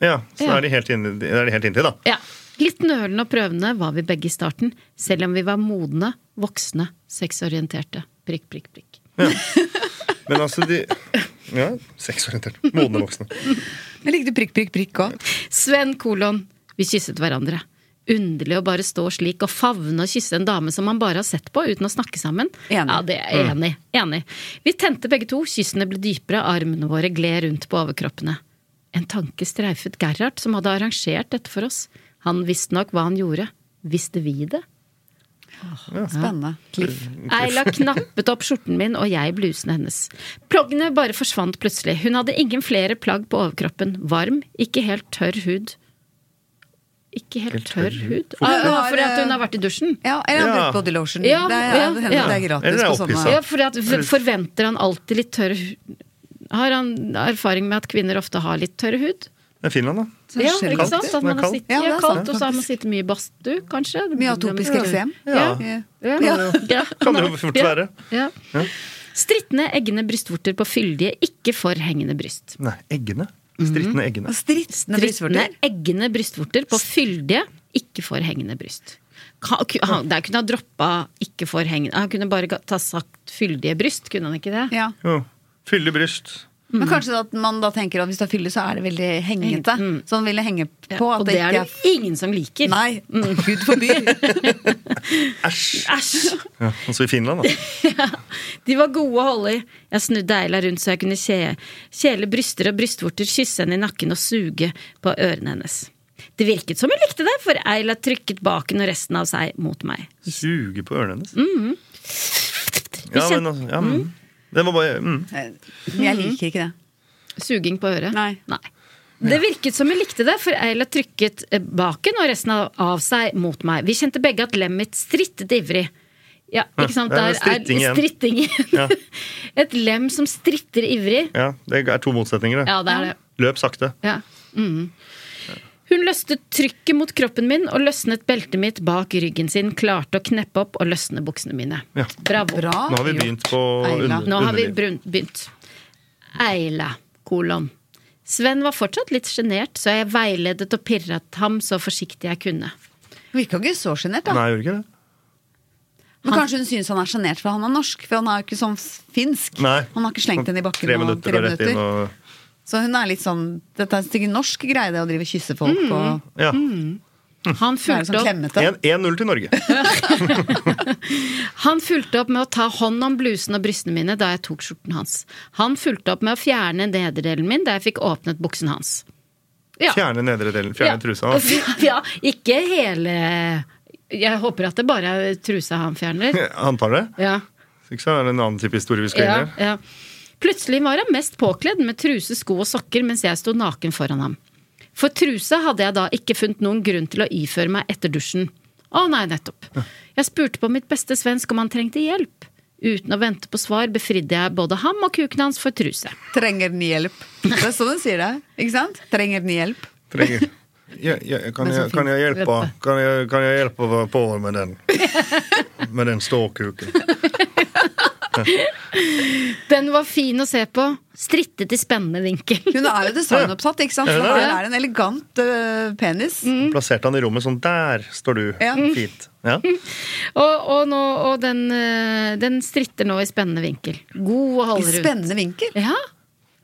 S4: Ja, så
S2: Ja.
S4: Er, de helt inne, det er de helt inntil, da.
S2: Ja. Litt nølende og prøvende var vi begge i starten, selv om vi var modne, voksne, sexorienterte. Prikk, prikk, prikk.
S4: Men altså, de Ja, sexorientert. Modne voksne.
S1: Jeg likte prikk, prikk, prikk òg.
S2: Sven kolon. Vi kysset hverandre. Underlig å bare stå slik og favne og kysse en dame som man bare har sett på uten å snakke sammen.
S1: Enig.
S2: Ja, det er jeg enig. enig. Vi tente begge to, kyssene ble dypere, armene våre gled rundt på overkroppene. En tanke streifet Gerhard, som hadde arrangert dette for oss. Han visste nok hva han gjorde. Visste vi det?
S1: Spennende. Cliff.
S2: Eila knappet opp skjorten min og jeg blusen hennes. Plaggene bare forsvant plutselig. Hun hadde ingen flere plagg på overkroppen. Varm, ikke helt tørr hud. Ikke helt tørr hud? Ah, ah, fordi at hun har vært i dusjen?
S1: Ja, eller han
S4: Ja.
S1: bruker body lotion.
S2: Ja,
S1: det, er,
S2: ja,
S1: det hender
S2: ja.
S1: det er gratis
S4: Eller er
S1: på sånne.
S4: opphissa.
S2: Ja, fordi at v- Forventer han alltid litt tørr hud? Har han erfaring med at kvinner ofte har litt tørr hud?
S4: Det er Finland, da.
S1: er
S2: Ja,
S1: sjelden
S2: ikke sant?
S4: kaldt.
S2: At man har
S4: Det er kaldt.
S2: sittet
S1: Ja, det
S2: ja,
S1: er sant,
S2: kaldt, og så har man sittet mye i badstue, kanskje?
S1: Mye atopisk eksem.
S2: Ja.
S1: Ja.
S2: Ja. Ja.
S4: Kan det jo fort
S2: Ja.
S4: være.
S2: Ja. Strittende, eggende brystvorter på fyldige, ikke for hengende bryst.
S4: Nei, eggene. Strittende eggene.
S1: Og Strittende
S2: Strittende,
S1: brystvorter.
S2: eggende brystvorter på fyldige, ikke for hengende bryst. Ka- ku- Han, der kunne han droppa ikke for hengende Han kunne bare ga- ta sagt fyldige bryst, kunne han ikke det?
S1: Ja.
S4: Jo. Fylle bryst.
S2: Mm.
S1: Men kanskje at man da tenker at hvis du er fyldig, så er det veldig hengete. Så han ville henge på at
S2: mm. og det er
S1: ikke
S2: det Mm. jo ingen som liker.
S1: Nei, *laughs* gud
S2: *laughs*
S1: forby.
S4: Æsj!
S2: Æsj!
S4: Ja, altså i Finland, da.
S2: De var gode å holde i. Jeg snudde Eila rundt så jeg kunne kje, kjele bryster og brystvorter, kysse henne i nakken og suge på ørene hennes. Det virket som hun likte det, for Eila trykket baken og resten av seg mot meg.
S4: Suge på ørene hennes.
S2: Vi
S4: Ja,
S2: kjente
S4: men altså, ja, mm. Det var bare mm.
S1: Men jeg liker ikke det.
S2: suging på øret.
S1: Nei.
S2: Det virket som hun likte det, for Eila trykket eh, baken og resten av, av seg mot meg. Vi kjente begge at lemmet mitt strittet ivrig. Ja, ikke sant?
S4: det
S2: Der
S4: er
S2: er
S4: stritting igjen.
S2: stritting igjen.
S4: Ja.
S2: *laughs* Et lem som stritter ivrig.
S4: Ja, det er to motsetninger, det.
S2: Ja, det er det.
S4: Løp sakte.
S2: Ja. Mhm. Hun løstet trykket mot kroppen min og løsnet beltet mitt bak ryggen sin, klarte å kneppe opp og løsne buksene mine.
S4: Ja.
S2: Bravo.
S1: Bra.
S4: Nå har vi begynt på
S1: Eila.
S4: under,
S2: Nå har vi
S4: underliv.
S2: brun- begynt. Eila, kolon. Sven var fortsatt litt sjenert, så jeg veiledet og pirret ham så forsiktig jeg kunne.
S1: Virka ikke så sjenert, da.
S4: Nei, gjorde ikke det?
S1: Men kanskje hun syns han er sjenert for han er norsk, for han er jo ikke sånn finsk.
S4: Nei.
S1: Han har ikke slengt henne i bakken.
S4: Tre
S1: og-
S4: minutter og rett inn og
S1: Så hun er litt sånn Dette er en stygg norsk greie, det å drive og kysse folk og
S4: Ja. Mm.
S2: Han
S1: være
S2: fulgte,
S1: sånn
S2: Mm, opp,
S1: klemmete.
S4: 1-0 til Norge.
S2: han fulgte opp med å ta hånd om blusen og brystene mine da jeg tok skjorten hans. Han fulgte opp med å fjerne nederdelen min da jeg fikk åpnet buksen hans. Ja.
S4: Fjerne nedre delen. Fjerne trusa.
S2: *laughs* Ja, ikke hele Jeg håper at det bare er trusa han fjerner.
S4: Antar det?
S2: Ja.
S4: Ikke så er det en annen type historie vi skal
S2: Ja,
S4: inn i.
S2: ja. Plutselig var han mest påkledd med truse, sko og sokker mens jeg sto naken foran ham. For truse hadde jeg da ikke funnet noen grunn til å iføre meg etter dusjen. Å nei, nettopp. Jeg spurte på mitt beste svensk om han trengte hjelp. Uten å vente på svar befridde jeg både ham og kuken hans for truse.
S1: Trenger den hjelp? Det er sånn hun sier det. Ikke sant? Trenger den hjelp?
S4: Trenger. Ja, ja, kan,
S2: Men så
S4: jeg, kan, jeg hjelpe,
S2: fint.
S4: kan, jeg, kan jeg hjelpe på med den Med den ståkuken?
S2: Den var fin å se på. Strittet i spennende vinkel.
S1: Hun er jo designoppsatt, ikke sant? Så
S4: Ja.
S1: her er det en elegant øh, penis.
S2: Mm.
S4: Plasserte han i rommet sånn. Der står du.
S1: Ja.
S4: Fint. Ja.
S2: Og, og, nå, og den, eh, den stritter nå i spennende vinkel. God å
S1: I
S2: holde rundt.
S1: spennende vinkel.
S2: Ja.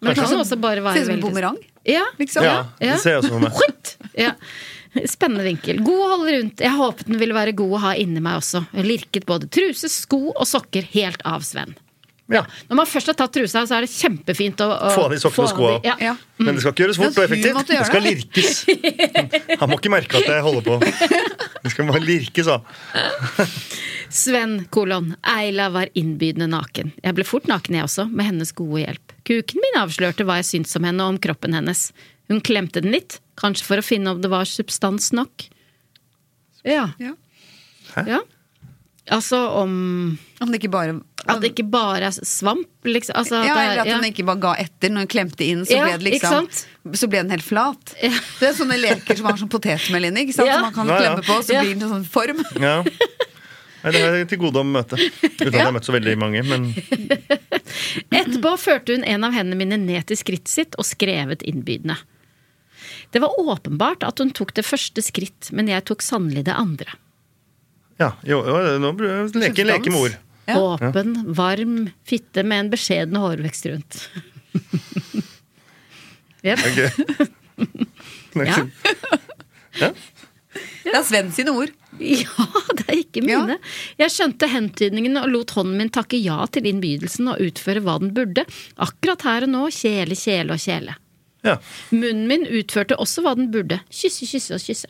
S2: Men det kan jo også bare
S1: Ser
S2: være
S1: ut som en
S2: veldig
S1: bumerang.
S2: Ja.
S1: Liksom.
S4: Ja, det ser jeg også for meg.
S2: Skjønt! Ja. Spennende vinkel. God å holde rundt. Jeg håpet den ville være god å ha inni meg også. Jeg lirket både truse, sko og sokker helt av Sven.
S4: Ja.
S2: Når man først har tatt trusa, av, så er det kjempefint å, å
S4: Få av de sokkene og
S2: få
S4: skoa.
S2: av de- Ja.
S1: Ja.
S4: Men det skal ikke gjøres fort
S1: Ja,
S4: og
S1: hun
S4: effektivt.
S1: måtte
S4: Det
S1: gjøre
S4: skal
S1: det.
S4: lirkes. Han må ikke merke at jeg holder på. Det skal bare lirkes av.
S2: Sven, kolon. Eila var innbydende naken. Jeg ble fort naken, jeg også, med hennes gode hjelp. Kuken min avslørte hva jeg syntes om henne og om kroppen hennes. Hun klemte den litt, kanskje for å finne om det var substans nok. Ja.
S1: Ja.
S2: ja. Altså om
S1: Om det ikke bare
S2: At det ikke bare er svamp, liksom. Altså,
S1: ja,
S2: at det er-
S1: eller at
S2: ja.
S1: hun ikke bare ga etter når hun klemte inn, så,
S2: Ja,
S1: ble,
S2: ikke
S1: det liksom,
S2: sant?
S1: så ble den helt flat.
S2: Ja.
S1: Det er sånne leker som har sånn potetmel inni, ikke sant?
S2: Ja.
S1: som man kan
S4: Ja, ja.
S1: klemme på, så
S2: Ja.
S1: blir den sånn form.
S4: Ja. Nei, det er til gode å møte. Uten at jeg har møtt så veldig mange. Men
S2: Etterpå førte hun en av hendene mine ned til skrittet sitt og skrevet innbydende. Det var åpenbart at hun tok det første skritt, men jeg tok sannelig det andre.
S4: ja, jo, jo, nå br- leke, leke med ord.
S1: Ja.
S2: Åpen, varm fitte med en beskjeden hårvekst rundt. *laughs* Jep.
S4: Ok.
S2: Ja.
S1: Det er Sven sine ord.
S2: ja, det er ikke
S1: Ja.
S2: mine. Jeg skjønte hentydningen og lot hånden min takke ja til innbydelsen og utføre hva den burde, akkurat her og nå, kjele, kjele og kjele.
S4: Ja.
S2: Munnen min utførte også hva den burde. Kysse, kysse og kysse.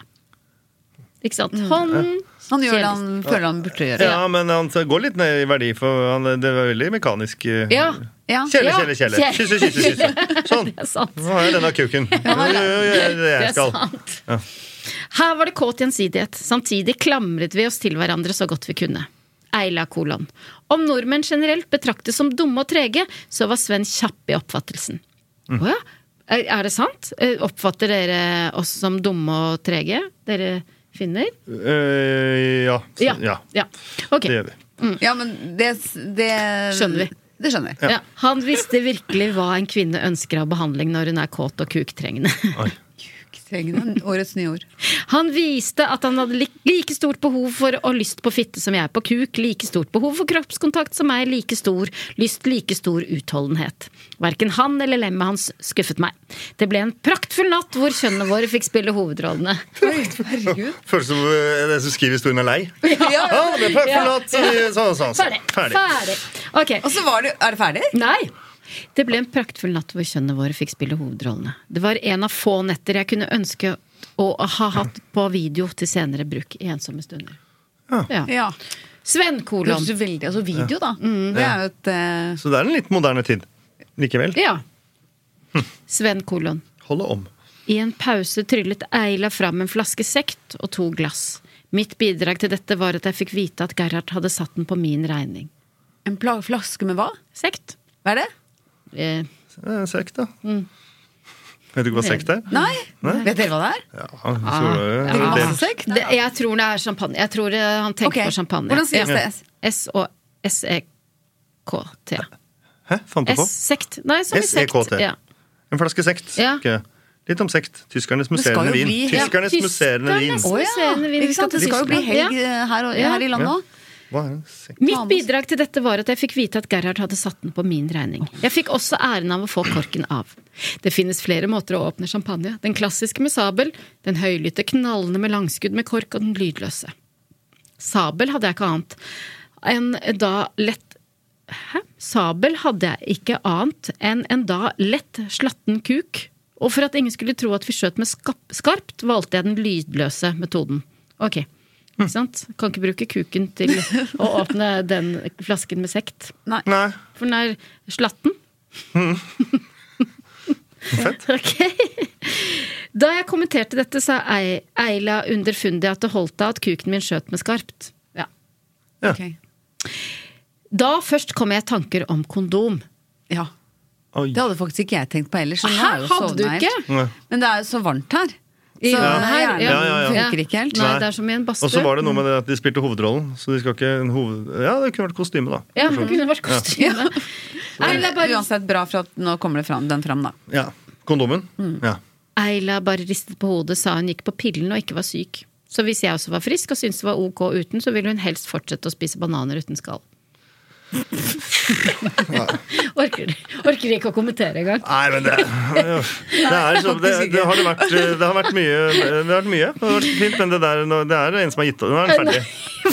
S2: Ikke sant?
S1: Mm.
S2: Hånden
S1: Han gjør det
S2: kjele-
S1: han føler han burde gjøre.
S4: ja, men han går litt ned i verdi, for han, det var veldig mekanisk. eh,
S2: Ja,
S1: Ja.
S4: Kjele,
S2: Ja.
S4: kjele, kjele. Kysse, kysse, kysse. Sånn.
S2: det er sant.
S4: Nå har jeg denne kuken. Jo, jo, jo, det er det
S2: Det
S4: jeg
S2: er
S4: skal.
S2: sant. Her var det kåt gjensidighet. Samtidig klamret vi oss til hverandre så godt vi kunne. Eila kolon. Om nordmenn generelt betraktes som dumme og trege, så var Sven kjapp i oppfattelsen. Å
S4: Mm.
S2: ja? Er er det sant? Eh, Oppfatter dere oss som dumme og trege, dere finner?
S4: Eh, ja. Så- ja.
S2: ja. Ok.
S4: Det gjør vi.
S1: Ja, men det, det
S2: Skjønner vi.
S1: Det skjønner jeg.
S2: Ja. han visste virkelig hva en kvinne ønsker av behandling når hun er kåt og kuktrengende. *laughs*
S1: Trenger den årets nye ord.
S2: Han viste at han hadde lik- like stort behov for og lyst på fitte som jeg på kuk, like stort behov for kroppskontakt som meg, like stor lyst, like stor utholdenhet. Verken han eller lemmet hans skuffet meg. Det ble en praktfull natt hvor kjønnene våre fikk spille hovedrollene.
S1: Oi, herregud.
S4: Føles som eh, den som skriver historien, er lei.
S1: Ja.
S4: Ja, det ble perfekt, sånn, sånn, sånn.
S2: Ferdig!
S4: Ferdig.
S2: Ferdig. Ok.
S1: Og så var det Er det ferdig?
S2: Nei! Det ble en praktfull natt hvor kjønnene våre fikk spille hovedrollene. Det var en av få netter jeg kunne ønske å ha hatt på video til senere bruk i ensomme stunder. Ja.
S1: Ja.
S2: Sven
S1: Det
S2: kolon. Mm.
S1: hørtes jo veldig Altså video, da. Det er jo et eh,
S4: Så det er en litt moderne tid. Likevel.
S2: Ja. Sven kolon.
S4: Holde om.
S2: I en pause tryllet Eila fram en flaske sekt og to glass. Mitt bidrag til dette var at jeg fikk vite at Gerhard hadde satt den på min regning.
S1: En pla- flaske med hva?
S2: Sekt?
S1: Hva er det?
S2: Eh,
S4: Eh, Sekt, da. Vet du ikke hva sekt er?
S1: Nei? Vet dere hva det er?
S4: Ja, så, eh,
S1: Drikker
S4: det-
S1: masse sekt?
S2: det, jeg tror det er champagne. Jeg tror eh, han tenker
S1: Ok.
S2: på champagne.
S1: Hvordan skrives
S2: Ja.
S1: det? S?
S2: S E og S-E-K-T.
S4: Hæ, fant du på?
S2: S-sekt. Nei, som i
S1: E
S2: sekt.
S4: S-E-K-T.
S2: Ja.
S4: En flaske sekt.
S2: Ja.
S4: Ok. Litt om sekt. Tyskernes
S1: skal
S4: musserende
S1: jo
S4: vin.
S1: bli- Ja,
S4: Tyskernes musserende vin.
S2: Tyskernes-
S1: Å ja.
S2: Museene vi
S1: Ikke sant?
S2: skal til
S1: Det skal jo bli
S2: Tyskland.
S1: helg eh, her, og,
S2: Ja.
S1: her i landet òg.
S4: Hva er en sekt?
S2: Mitt bidrag til dette var at jeg fikk vite at Gerhard hadde satt den på min regning. Jeg fikk også æren av å få korken av. Det finnes flere måter å åpne champagne. Den klassiske med sabel, den høylytte, knallende med langskudd med kork og den lydløse. Sabel hadde jeg ikke annet enn da lett Hæ? Sabel hadde jeg ikke annet enn en da lett slatten kuk. Og for at ingen skulle tro at vi skjøt med skap- skarpt, valgte jeg den lydløse metoden. Ok, ikke sant? Kan ikke bruke kuken til å åpne den flasken med sekt.
S4: Nei.
S2: For den er slatten. *laughs* Ok. Da jeg kommenterte dette, sa Ei- Eila underfundig at det holdt av at kuken min skjøt meg skarpt. Ja.
S4: Ja.
S1: Ok.
S2: Da først kom jeg i tanker om kondom.
S1: Ja.
S4: Oi.
S1: Det hadde faktisk ikke jeg tenkt på heller. Så
S2: Hæ?
S1: nå har jeg jo
S2: Hadde du
S1: sovnet
S2: ikke?
S1: helt.
S4: Nei.
S1: Men det er jo så varmt her. Så
S2: Ja.
S1: hjernen
S2: Ja, ja, ja.
S1: funker ikke helt.
S2: Nei,
S4: Nei.
S2: det er som i en
S4: Og så
S2: badstue.
S4: var det noe med det at de spilte hovedrollen. Så de skal ikke en hoved... Ja, det kunne vært kostyme, da.
S2: Ja, det kunne vært kostyme. Eila
S1: Men
S2: bare,
S1: uansett bra, for at nå kommer det fram, den fram, da.
S4: Ja. Kondomen. Ja.
S2: Eila bare ristet på hodet, sa hun gikk på pillen og ikke var syk. Så hvis jeg også var frisk og syntes det var ok uten, så ville hun helst fortsette å spise bananer uten skall. orker, orker ikke å kommentere engang.
S4: Nei, men det, *laughs* det er så, det, det, har det, vært, eh, det har vært mye. Det har vært mye. Det har vært fint, men det, der, nå- det er en som har gitt opp. Nå er den ferdig.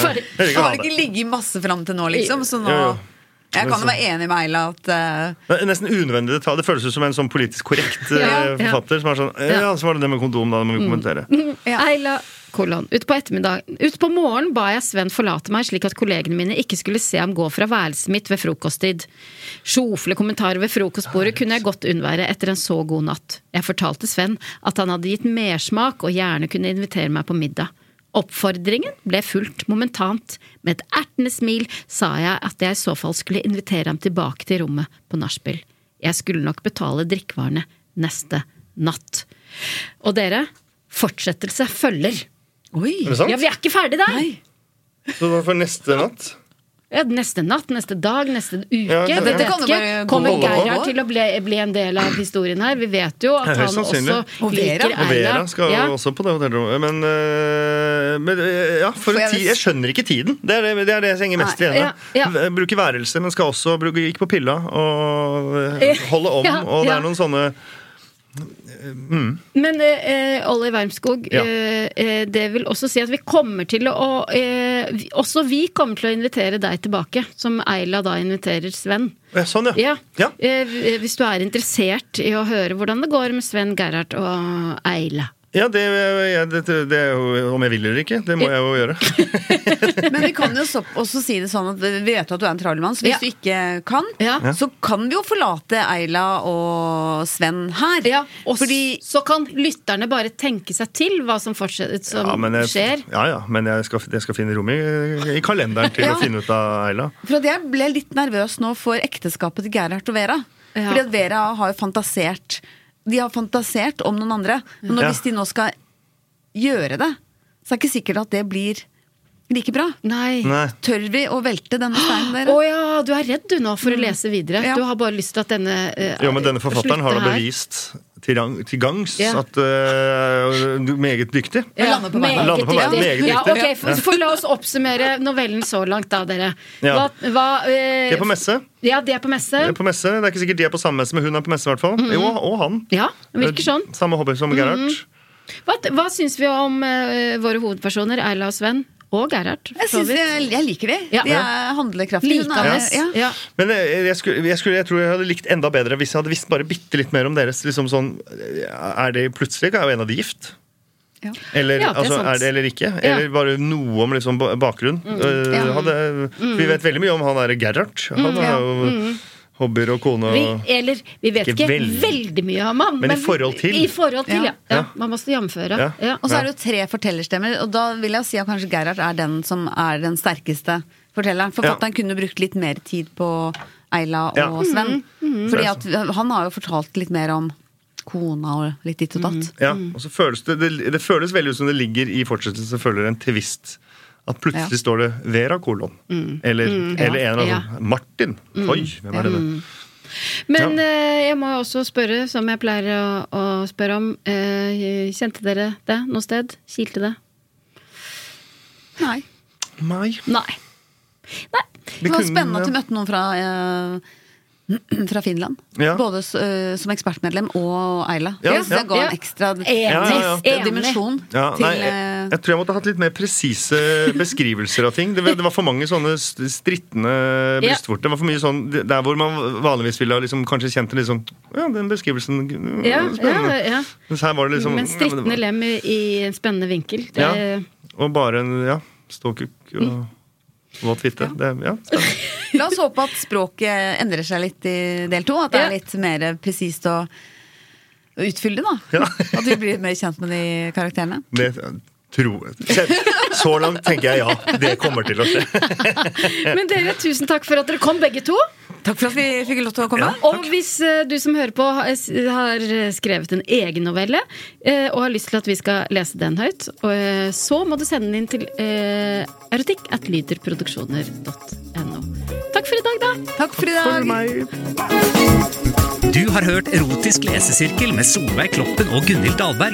S2: Ferdig.
S4: Jeg vil
S1: Det
S4: ikke
S1: har
S4: ha
S1: ikke
S4: det.
S1: ligget masse fram til nå, liksom. Så nå
S4: Jo, jo.
S1: Jeg kan jo være enig med Eila at eh,
S4: Det er Nesten unødvendig detalj. Det føles ut som en sånn politisk korrekt eh,
S2: Ja, ja.
S4: forfatter som er sånn Ja, så var det det med kondom, da. Det må vi kommentere.
S1: Ja.
S2: Eila kolon, ut på ettermiddagen. Ut på morgenen ba jeg Sven forlate meg, slik at kollegene mine ikke skulle se ham gå fra værelset mitt ved frokosttid. Sjofle kommentarer ved frokostbordet kunne jeg godt unnvære etter en så god natt. Jeg fortalte Sven at han hadde gitt mersmak og gjerne kunne invitere meg på middag. Oppfordringen ble fulgt momentant. Med et ertende smil sa jeg at jeg i så fall skulle invitere ham tilbake til rommet på nachspiel. Jeg skulle nok betale drikkevarene neste natt. Og dere, fortsettelse følger.
S1: Oi!
S4: Er det sant?
S2: Ja, vi er ikke ferdig der!
S1: Nei.
S4: *laughs* Så det var for neste natt.
S2: Ja, neste natt, neste dag, neste uke.
S4: Ja,
S2: vi
S4: dette
S2: vet
S1: kan jo
S2: ikke.
S1: bare gå
S2: Kommer
S1: over.
S2: Gerhard til å bli, bli en del av historien her? Vi vet jo at
S4: Ja,
S2: han
S4: høyst
S2: også
S4: sannsynlig.
S1: Og Vera.
S2: liker
S1: Og
S2: Eila.
S4: Og Vera skal
S2: ja.
S4: også på det hotellrommet. Men, eh, men eh, ja, for
S1: For
S4: en
S1: jeg-
S4: tid, jeg skjønner ikke tiden. Det er det, det, er det jeg henger mest
S1: Nei,
S4: i henne.
S2: ja, ja.
S4: Bruker værelse, men skal også bruke, gikk på pilla og *laughs* eh, holde om.
S2: Ja,
S4: og det
S2: ja.
S4: er noen sånne
S2: Men eh, eh, Olli Wermskog,
S4: Ja.
S2: eh, eh, det vil også si at vi kommer til å eh, vi- Også vi kommer til å invitere deg tilbake, som Eila da inviterer Sven.
S4: Ja, Sånn, ja.
S2: Ja. Eh, v- hvis du er interessert i å høre hvordan det går med Sven, Gerhard og
S1: *laughs*
S2: Eila.
S4: Ja, det, jeg- det, det er jo om jeg vil eller ikke. Det må jeg jo
S2: *laughs*
S4: gjøre.
S1: Men vi kan jo så- også si det sånn at vi vet jo at du er en travel mann, så hvis
S2: Ja.
S1: du ikke kan,
S2: Ja.
S1: så kan vi jo forlate Eila og Sven her.
S2: Ja, og
S1: Fordi
S2: s- så kan lytterne bare tenke seg til hva som, fortsetter, som
S4: Ja, men jeg,
S2: skjer.
S4: ja, ja, men jeg skal, jeg skal finne rom i, i
S2: *laughs*
S4: kalenderen til
S1: Ja.
S4: å finne ut av Eila.
S1: For at jeg ble litt nervøs nå for ekteskapet til Gerhard og Vera.
S2: Ja.
S1: Fordi at Vera har jo fantasert De har fantasert om noen andre. Men nå,
S4: Ja.
S1: hvis de nå skal gjøre det, så er det ikke sikkert at det blir like bra.
S2: Nei.
S4: Nei.
S1: Tør vi å velte denne steinen
S2: Å
S1: der?
S2: ja, du er redd du nå for å lese videre.
S1: Ja.
S2: Du har bare lyst til at denne eh,
S4: Jo, men denne forfatteren har da
S2: slutter her.
S4: bevist til, gang- til gangs
S2: Ja.
S4: at eh, du er meget dyktig.
S1: Ja, lande på beina.
S2: meget
S4: Lande på beina,
S2: riktig.
S4: meget
S2: Ja,
S4: riktig.
S2: ok, for, for la oss oppsummere novellen så langt, da, dere.
S4: Ja.
S2: Hva, hva, eh,
S4: De er på messe.
S2: Ja, de er på messe.
S4: De er på messe. Det er ikke sikkert de er på samme messe, men hun er på messe i hvert fall. Jo, og han.
S2: Ja, det virker sånn.
S4: Samme hobby som Gerhard.
S2: Hva, hva syns vi om eh, våre hovedpersoner, Eila og Sven? Og Gerhard. for
S1: Jeg,
S2: så
S1: synes
S2: vidt.
S1: jeg, jeg liker de.
S2: Ja.
S1: De er handlekraftige. Hun er-
S2: Likende.
S1: ja.
S2: Ja.
S4: Men jeg, jeg, skulle, jeg, skulle, jeg tror jeg hadde likt enda bedre hvis jeg hadde visst bare bitte litt mer om deres. Liksom sånn, er de plutselig er jo en av de gift?
S1: Ja.
S4: Eller,
S2: Ja, Mm, det er
S4: altså,
S2: sant.
S4: er det eller ikke? Eller bare noe om liksom, ba- bakgrunn. Eh,
S1: Ja.
S4: hadde,
S2: Mm.
S4: vi vet veldig mye om han derre Gerhard. Han har
S1: Ja.
S4: jo hobbyer og kone
S2: Vi,
S4: og
S2: eller vi vet
S4: Ikke
S2: ikke
S4: veldig.
S2: veldig, mye om han.
S4: Men i forhold til.
S2: I forhold til, ja. ja.
S4: Ja.
S2: Man må jamføre.
S4: Ja.
S2: Ja. altså,
S1: Og så er det jo tre fortellerstemmer, og da vil jeg si at kanskje Gerhard er den som er den sterkeste fortelleren. Forfatteren kunne brukt litt mer tid på Eila og
S4: Ja.
S1: Sven. Fordi at han har jo fortalt litt mer om kona og litt ditt og datt.
S4: Ja,
S2: Mm.
S4: og så føles det, det, det føles veldig ut som det ligger i fortsettelsen følger en tvist. At plutselig står det Vera kolon. Eller, eller en av
S2: Mm. Ja. Mm.
S4: dem. Martin. Oi, hvem er det?
S2: Men
S4: Ja.
S2: eh, jeg må jo også spørre, som jeg pleier å, å spørre om, eh, kjente dere det noe sted? Kilte det?
S1: Nei.
S4: Nei.
S2: Nei. Nei.
S1: Det var
S4: kunne-
S1: spennende at vi møtte noen fra, eh, *clears throat* fra Finland.
S4: Ja.
S1: Både s- eh, som ekspertmedlem og Eila.
S4: Ja,
S1: det synes jeg
S4: ja.
S1: ga
S2: Ja.
S1: en ekstra
S4: ja,
S2: ja.
S1: ekstra dimensjon
S4: Ja,
S1: til
S4: nei, jeg,
S1: eh,
S4: jeg tror jeg måtte hatt litt mer presise beskrivelser av ting. Det, var- det var for mange sånne st- strittende
S2: Ja.
S4: brystvorter. Det var for mye sånn, Der hvor man vanligvis ville ha liksom, kanskje kjent det litt sånn Ja, den beskrivelsen mm,
S2: Ja, ja,
S4: Spennende.
S2: ja.
S4: Mens her var det liksom
S2: Men
S4: ja, men det
S2: strittende
S4: var-
S2: lem i, i en spennende vinkel. Det, Mm.
S4: Ja. Og bare en ja, ståkukk og våt fitte. Det, er- ja, spennende.
S1: La oss håpe at språket endrer seg litt i del to. At det
S2: Ja.
S1: er litt mer presist og utfyllende, da. At vi blir mer kjent med de karakterene.
S4: Det eh, tro... *laughs* Så langt tenker jeg ja. Det kommer til å skje.
S2: Men dere, tusen takk for at dere kom, begge to.
S1: Takk for at vi fikk lov til å komme.
S2: Og hvis eh, du som hører på har s- har skrevet en egen novelle eh, og har lyst til at vi skal lese den høyt, og, eh, så må du sende den inn til eh, erotikk at lyderproduksjoner.no. Takk for i dag, da.
S1: Takk for i dag.
S5: Du har hørt Erotisk lesesirkel med Solveig Kloppen og Gunhild Dahlberg.